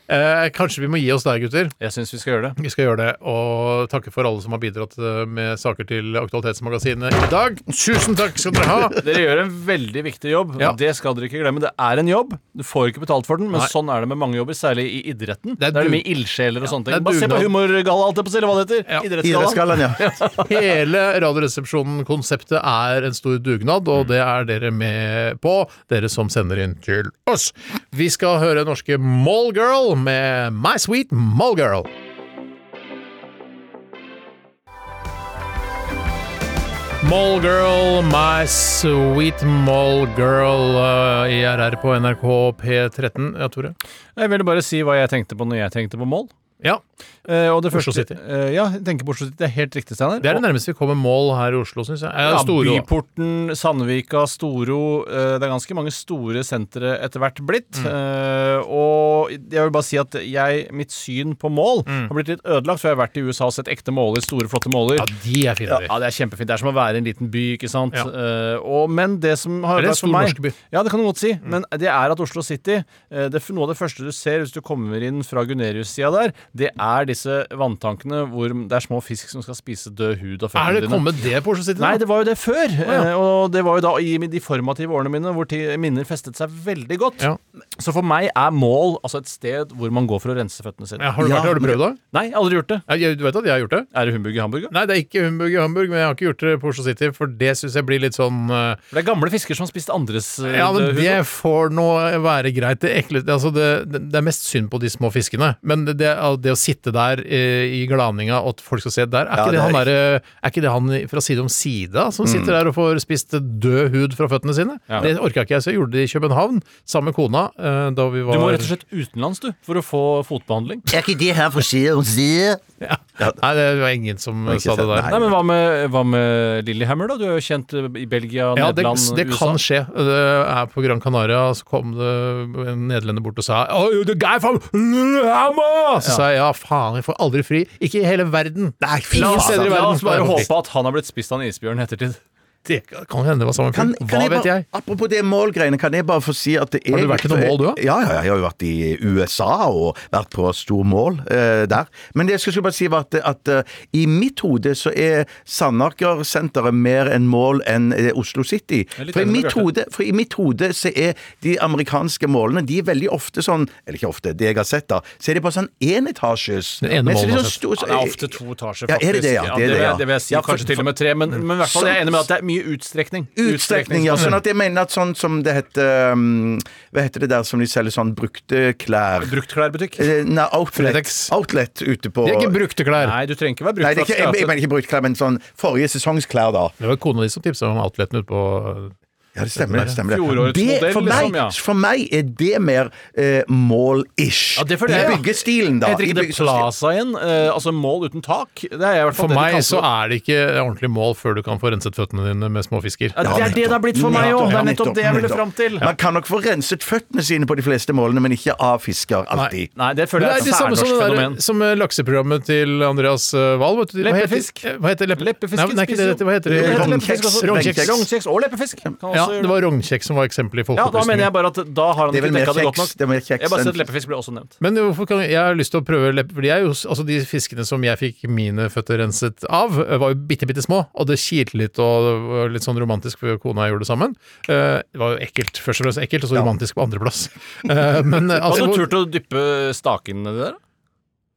Eh, kanskje vi må gi oss der, gutter. Jeg syns vi skal gjøre det. Vi skal gjøre det, og takke for alle som har bidratt eh, med saker til Aktualitetsmagasinet i dag. Tusen takk skal dere ha! Dere gjør en veldig viktig jobb. Ja. Det skal dere ikke glemme. Det er en jobb. Du får ikke betalt for den, men Nei. sånn er det med mange jobber, særlig i idretten. Det er Der er det du- mye ildsjeler og sånne ting. det er Bare se på dugnad. humorgalla, alt det på å si, eller hva det heter. Idrettsgallaen, ja. Hele Radioresepsjonen-konseptet er en stor dugnad, Mm. og det er dere med på, dere som sender inn til oss. Vi skal høre norske Mallgirl med My Sweet Mallgirl. Mallgirl, my sweet mallgirl, uh, IRR på NRK P13. Ja, Tore? Jeg ville bare si hva jeg tenkte på når jeg tenkte på mål. Ja, Eh, og det Oslo første, City. eh, ja, jeg tenker på Oslo City. Det er helt riktig, Steinar. Det er det Og- nærmeste vi kommer mål her i Oslo, syns jeg. Eh, Ja, Storo. Byporten, Sandvika, Storo. eh, Det er ganske mange store sentre etter hvert blitt. Mm. Eh, Og jeg vil bare si at jeg, mitt syn på mål har blitt litt ødelagt, for jeg har vært i USA og sett ekte måler, store, flotte måler. Mm. Ja, de er fine, de. Ja, det er kjempefint. Det er som å være i en liten by, ikke sant. Ja. Eh, og, men det som har Eller en vært for stor meg norsk by. Mm. Ja, det kan du godt si. Men det er at Oslo City eh, det, er Noe av det første du ser hvis du kommer inn fra Gunerius-sida der, det er disse vanntankene hvor det er små fisk som skal spise død hud Er av føttene det kommet det på Oslo City? Nei, da? det var jo det før. eh, Og det var jo da i de formative årene mine hvor ti- minner festet seg veldig godt. Ja. Så for meg er mål altså et sted hvor man går for å rense føttene sine. Ja, har, du vært, der? har du prøvd det? Nei, aldri gjort det. Ja, jeg- Du vet at jeg har gjort det? Er det humbug i Hamburg? da? Nei, det er ikke Humbug i Hamburg, men jeg har ikke gjort det på Oslo City, for det syns jeg blir litt sånn eh, For Det er gamle fisker som har spist andres eh, Ja, men hud. det får nå være greit. Det, ekle, altså det, det det er mest synd på de små fiskene, men det, det, det å sitte der eh, i glaninga og at folk skal se der, er, Ja, ikke det det er han der, eh, er ikke det han i- fra side om side da, som sitter der og får spist død hud fra føttene sine? Mm. Ja. Det orka ikke jeg, så jeg gjorde det i København sammen med kona eh, da vi Du var må rett og slett utenlands du for å få fotbehandling. Er ikke det her for side om side? Nei, det var ingen som Ikke sa sett- det der. Nei, men Hva med, hva med Lillehammer, da? Du er jo kjent eh, i Belgia, Ja, det, Nederland, det USA. kan skje. Det er på Gran Canaria, så kom det en nederlender bort og sa oh, the guy from Lillehammer! Så Ja. sa jeg ja, faen, jeg får aldri fri. Ikke i hele verden. Nei, La ingen oss, steder i la oss verden. bare håpe at han har blitt spist av en isbjørn i ettertid. Det kan hende det var samme Kan, fyr. kan Hva jeg bare, vet jeg? Apropos det målgreiene, kan jeg bare få si at det er eh, Har du vært i noe mål, du, da? Ja, ja, ja, jeg har jo vært i USA og vært på stor mål eh, der. Men det jeg skulle bare si var at, at eh, i mitt hode så er Sandaker-senteret mer en mål enn eh, Oslo City. er litt For i, enig med mitt Bjarte. hode, for i mitt hode så er de amerikanske målene de er veldig ofte sånn Eller ikke ofte, det jeg har sett, da. Så er de på sånn enetasjes. Den ene Men så er målen de har sånn sett. stor- Ja, så- det er ofte to etasjer, Ja, faktisk. er det det, ja? Det er det, det, ja. vil jeg si. Ja, for- Mm. kanskje til og med tre, men, men i hvert fall jeg er enig med at det er mye utstrekning. Utstrekning, ja. Sånn at jeg mener at sånn som det heter um, Hva heter det der som de selger sånn brukte klær? Bruktklærbutikk. Eh, Nei, outlet, Fretex. outlet ute på Det er ikke brukte klær. Nei, du trenger ikke være brukt. Nei, det er ikke, jeg, jeg for at- mener ikke brukt klær, men sånn forrige sesongs klær, da. Det var kona di som tipsa om outleten ute på Ja, det stemmer. det stemmer Fjorårets modell, for, meg, liksom, ja. for meg er det mer eh, mål-ish. Ja, det er for det, I ja. byggestilen, da. Heter I ikke det byggestilen. Plaza igjen? Eh, altså mål uten tak? Det er i hvert For fall det de meg kaller så det. er det ikke ordentlig mål før du kan få renset føttene dine med små fisker. ja, Det er det det har blitt for meg òg! Det er nettopp det jeg ville fram til. Man kan nok få renset føttene sine på de fleste målene, men ikke av fisker alltid. Nei, Men det føler Det jeg er er de et samme som, særnorsk det fenomen. der, som eh, lakseprogrammet til Andreas eh, Wahl. vet du. Hva heter- Leppefisk. Hva heter leppe... Nei, Leppefisken men det er ikke det, spiser dette- hva heter det? Det heter Leppefisken Rognkjeks. også. Rognkjeks. Rognkjeks og leppefisк. Kan også Ja, gjøre det var rognkjeks som var eksempelet i Altså, Ja, da mener folkeopplysningen. jeg bare at da har han Det ikke er vel mer dekka det godt kjeks. nok. Det er mer Jeg kjeks bare enn- ser at leppefisken ble også nevnt. men hvorfor kan, jeg har lyst til å prøve leppe, fordi jeg, er jo s- altså De fiskene som jeg fikk mine føtter renset av, eh, var jo bitte, bitte små. Og det kilte litt, og det var litt sånn romantisk, for kona og jeg gjorde det sammen. Eh, Det var jo ekkelt, først og fremst ekkelt, og så romantisk på andreplass. Eh, Men eh, altså Hadde du hvor- turt å dyppe staken nedi der?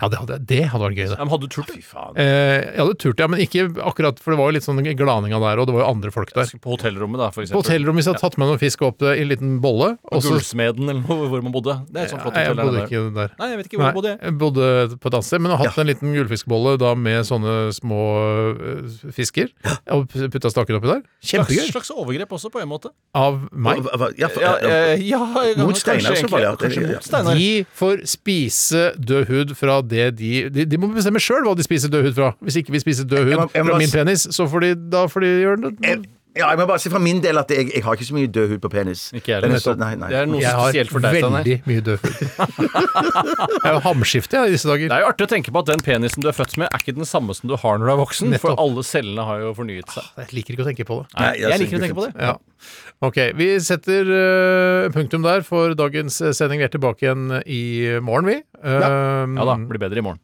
Ja, det hadde, det hadde vært gøy, det. Ja, men Hadde du turt det? Eh, Jeg hadde turt det, ja, men ikke akkurat, for det var jo litt sånn glaninga der, og det var jo andre folk der. På hotellrommet, da, for På eksempel. hotellrommet hvis jeg hadde tatt med noen fisk opp eh, i en liten bolle og så- Gullsmeden, eller noe, hvor man bodde. Det er et sånt flott Nei, jeg hotell der bodde nede. ikke der. Nei, jeg vet ikke hvor Nei, jeg bodde. jeg. jeg bodde på et annet sted, men har hatt en liten gullfiskbolle da med sånne små øh, fisker. Og putta staken oppi der. Slags, Kjempegøy! slags overgrep også, på en måte. Av meg. Hva- hva- ja, for- Ja, eh, ja, jeg kan- Mot Steinar, kanskje så var det- egentlig- kanskje mot Steinar. De får spise død hud fra det de De, de må bestemme sjøl hva de spiser død hud fra. Hvis ikke vi spiser død Jeg hud må- jeg må fra bare min si- penis, så får de da får de gjøre det. Jeg, eh, Ja, jeg må bare si fra min del at jeg, jeg har ikke så mye død hud på penis. Ikke heller. nei, nei. Det er noe Jeg har spesielt for deg, Steinar. Veldig mye død hud. Jeg er jo hamskifte jeg, i disse dager. Det er jo artig å tenke på at den penisen du er født med, er ikke den samme som du har når du er voksen. Nettopp. For alle cellene har jo fornyet seg. Jeg liker ikke å tenke på det. Nei, jeg liker å tenke på det. Ja. Ok, vi setter eh, punktum der for dagens eh, sending. Vi er tilbake igjen i morgen, vi. Eh, Ja da, blir bedre i morgen.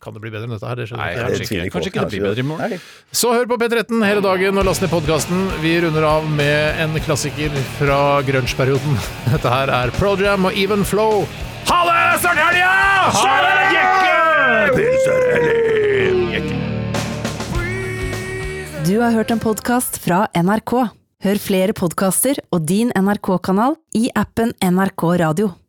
Kan det bli bedre enn dette her? Det skjønner Nei, jeg ikke. kanskje ikke. Kanskje ikke det blir bedre i morgen. Så hør på P13 hele dagen og last ned podkasten. Vi runder av med en klassiker fra grunge-perioden. Dette her er Pro Jam og Even Flow. Ha det! Snart helg, ja! Ha det, jekke! Du har hørt en podkast fra NRK. Hør flere podkaster og din NRK-kanal i appen NRK Radio.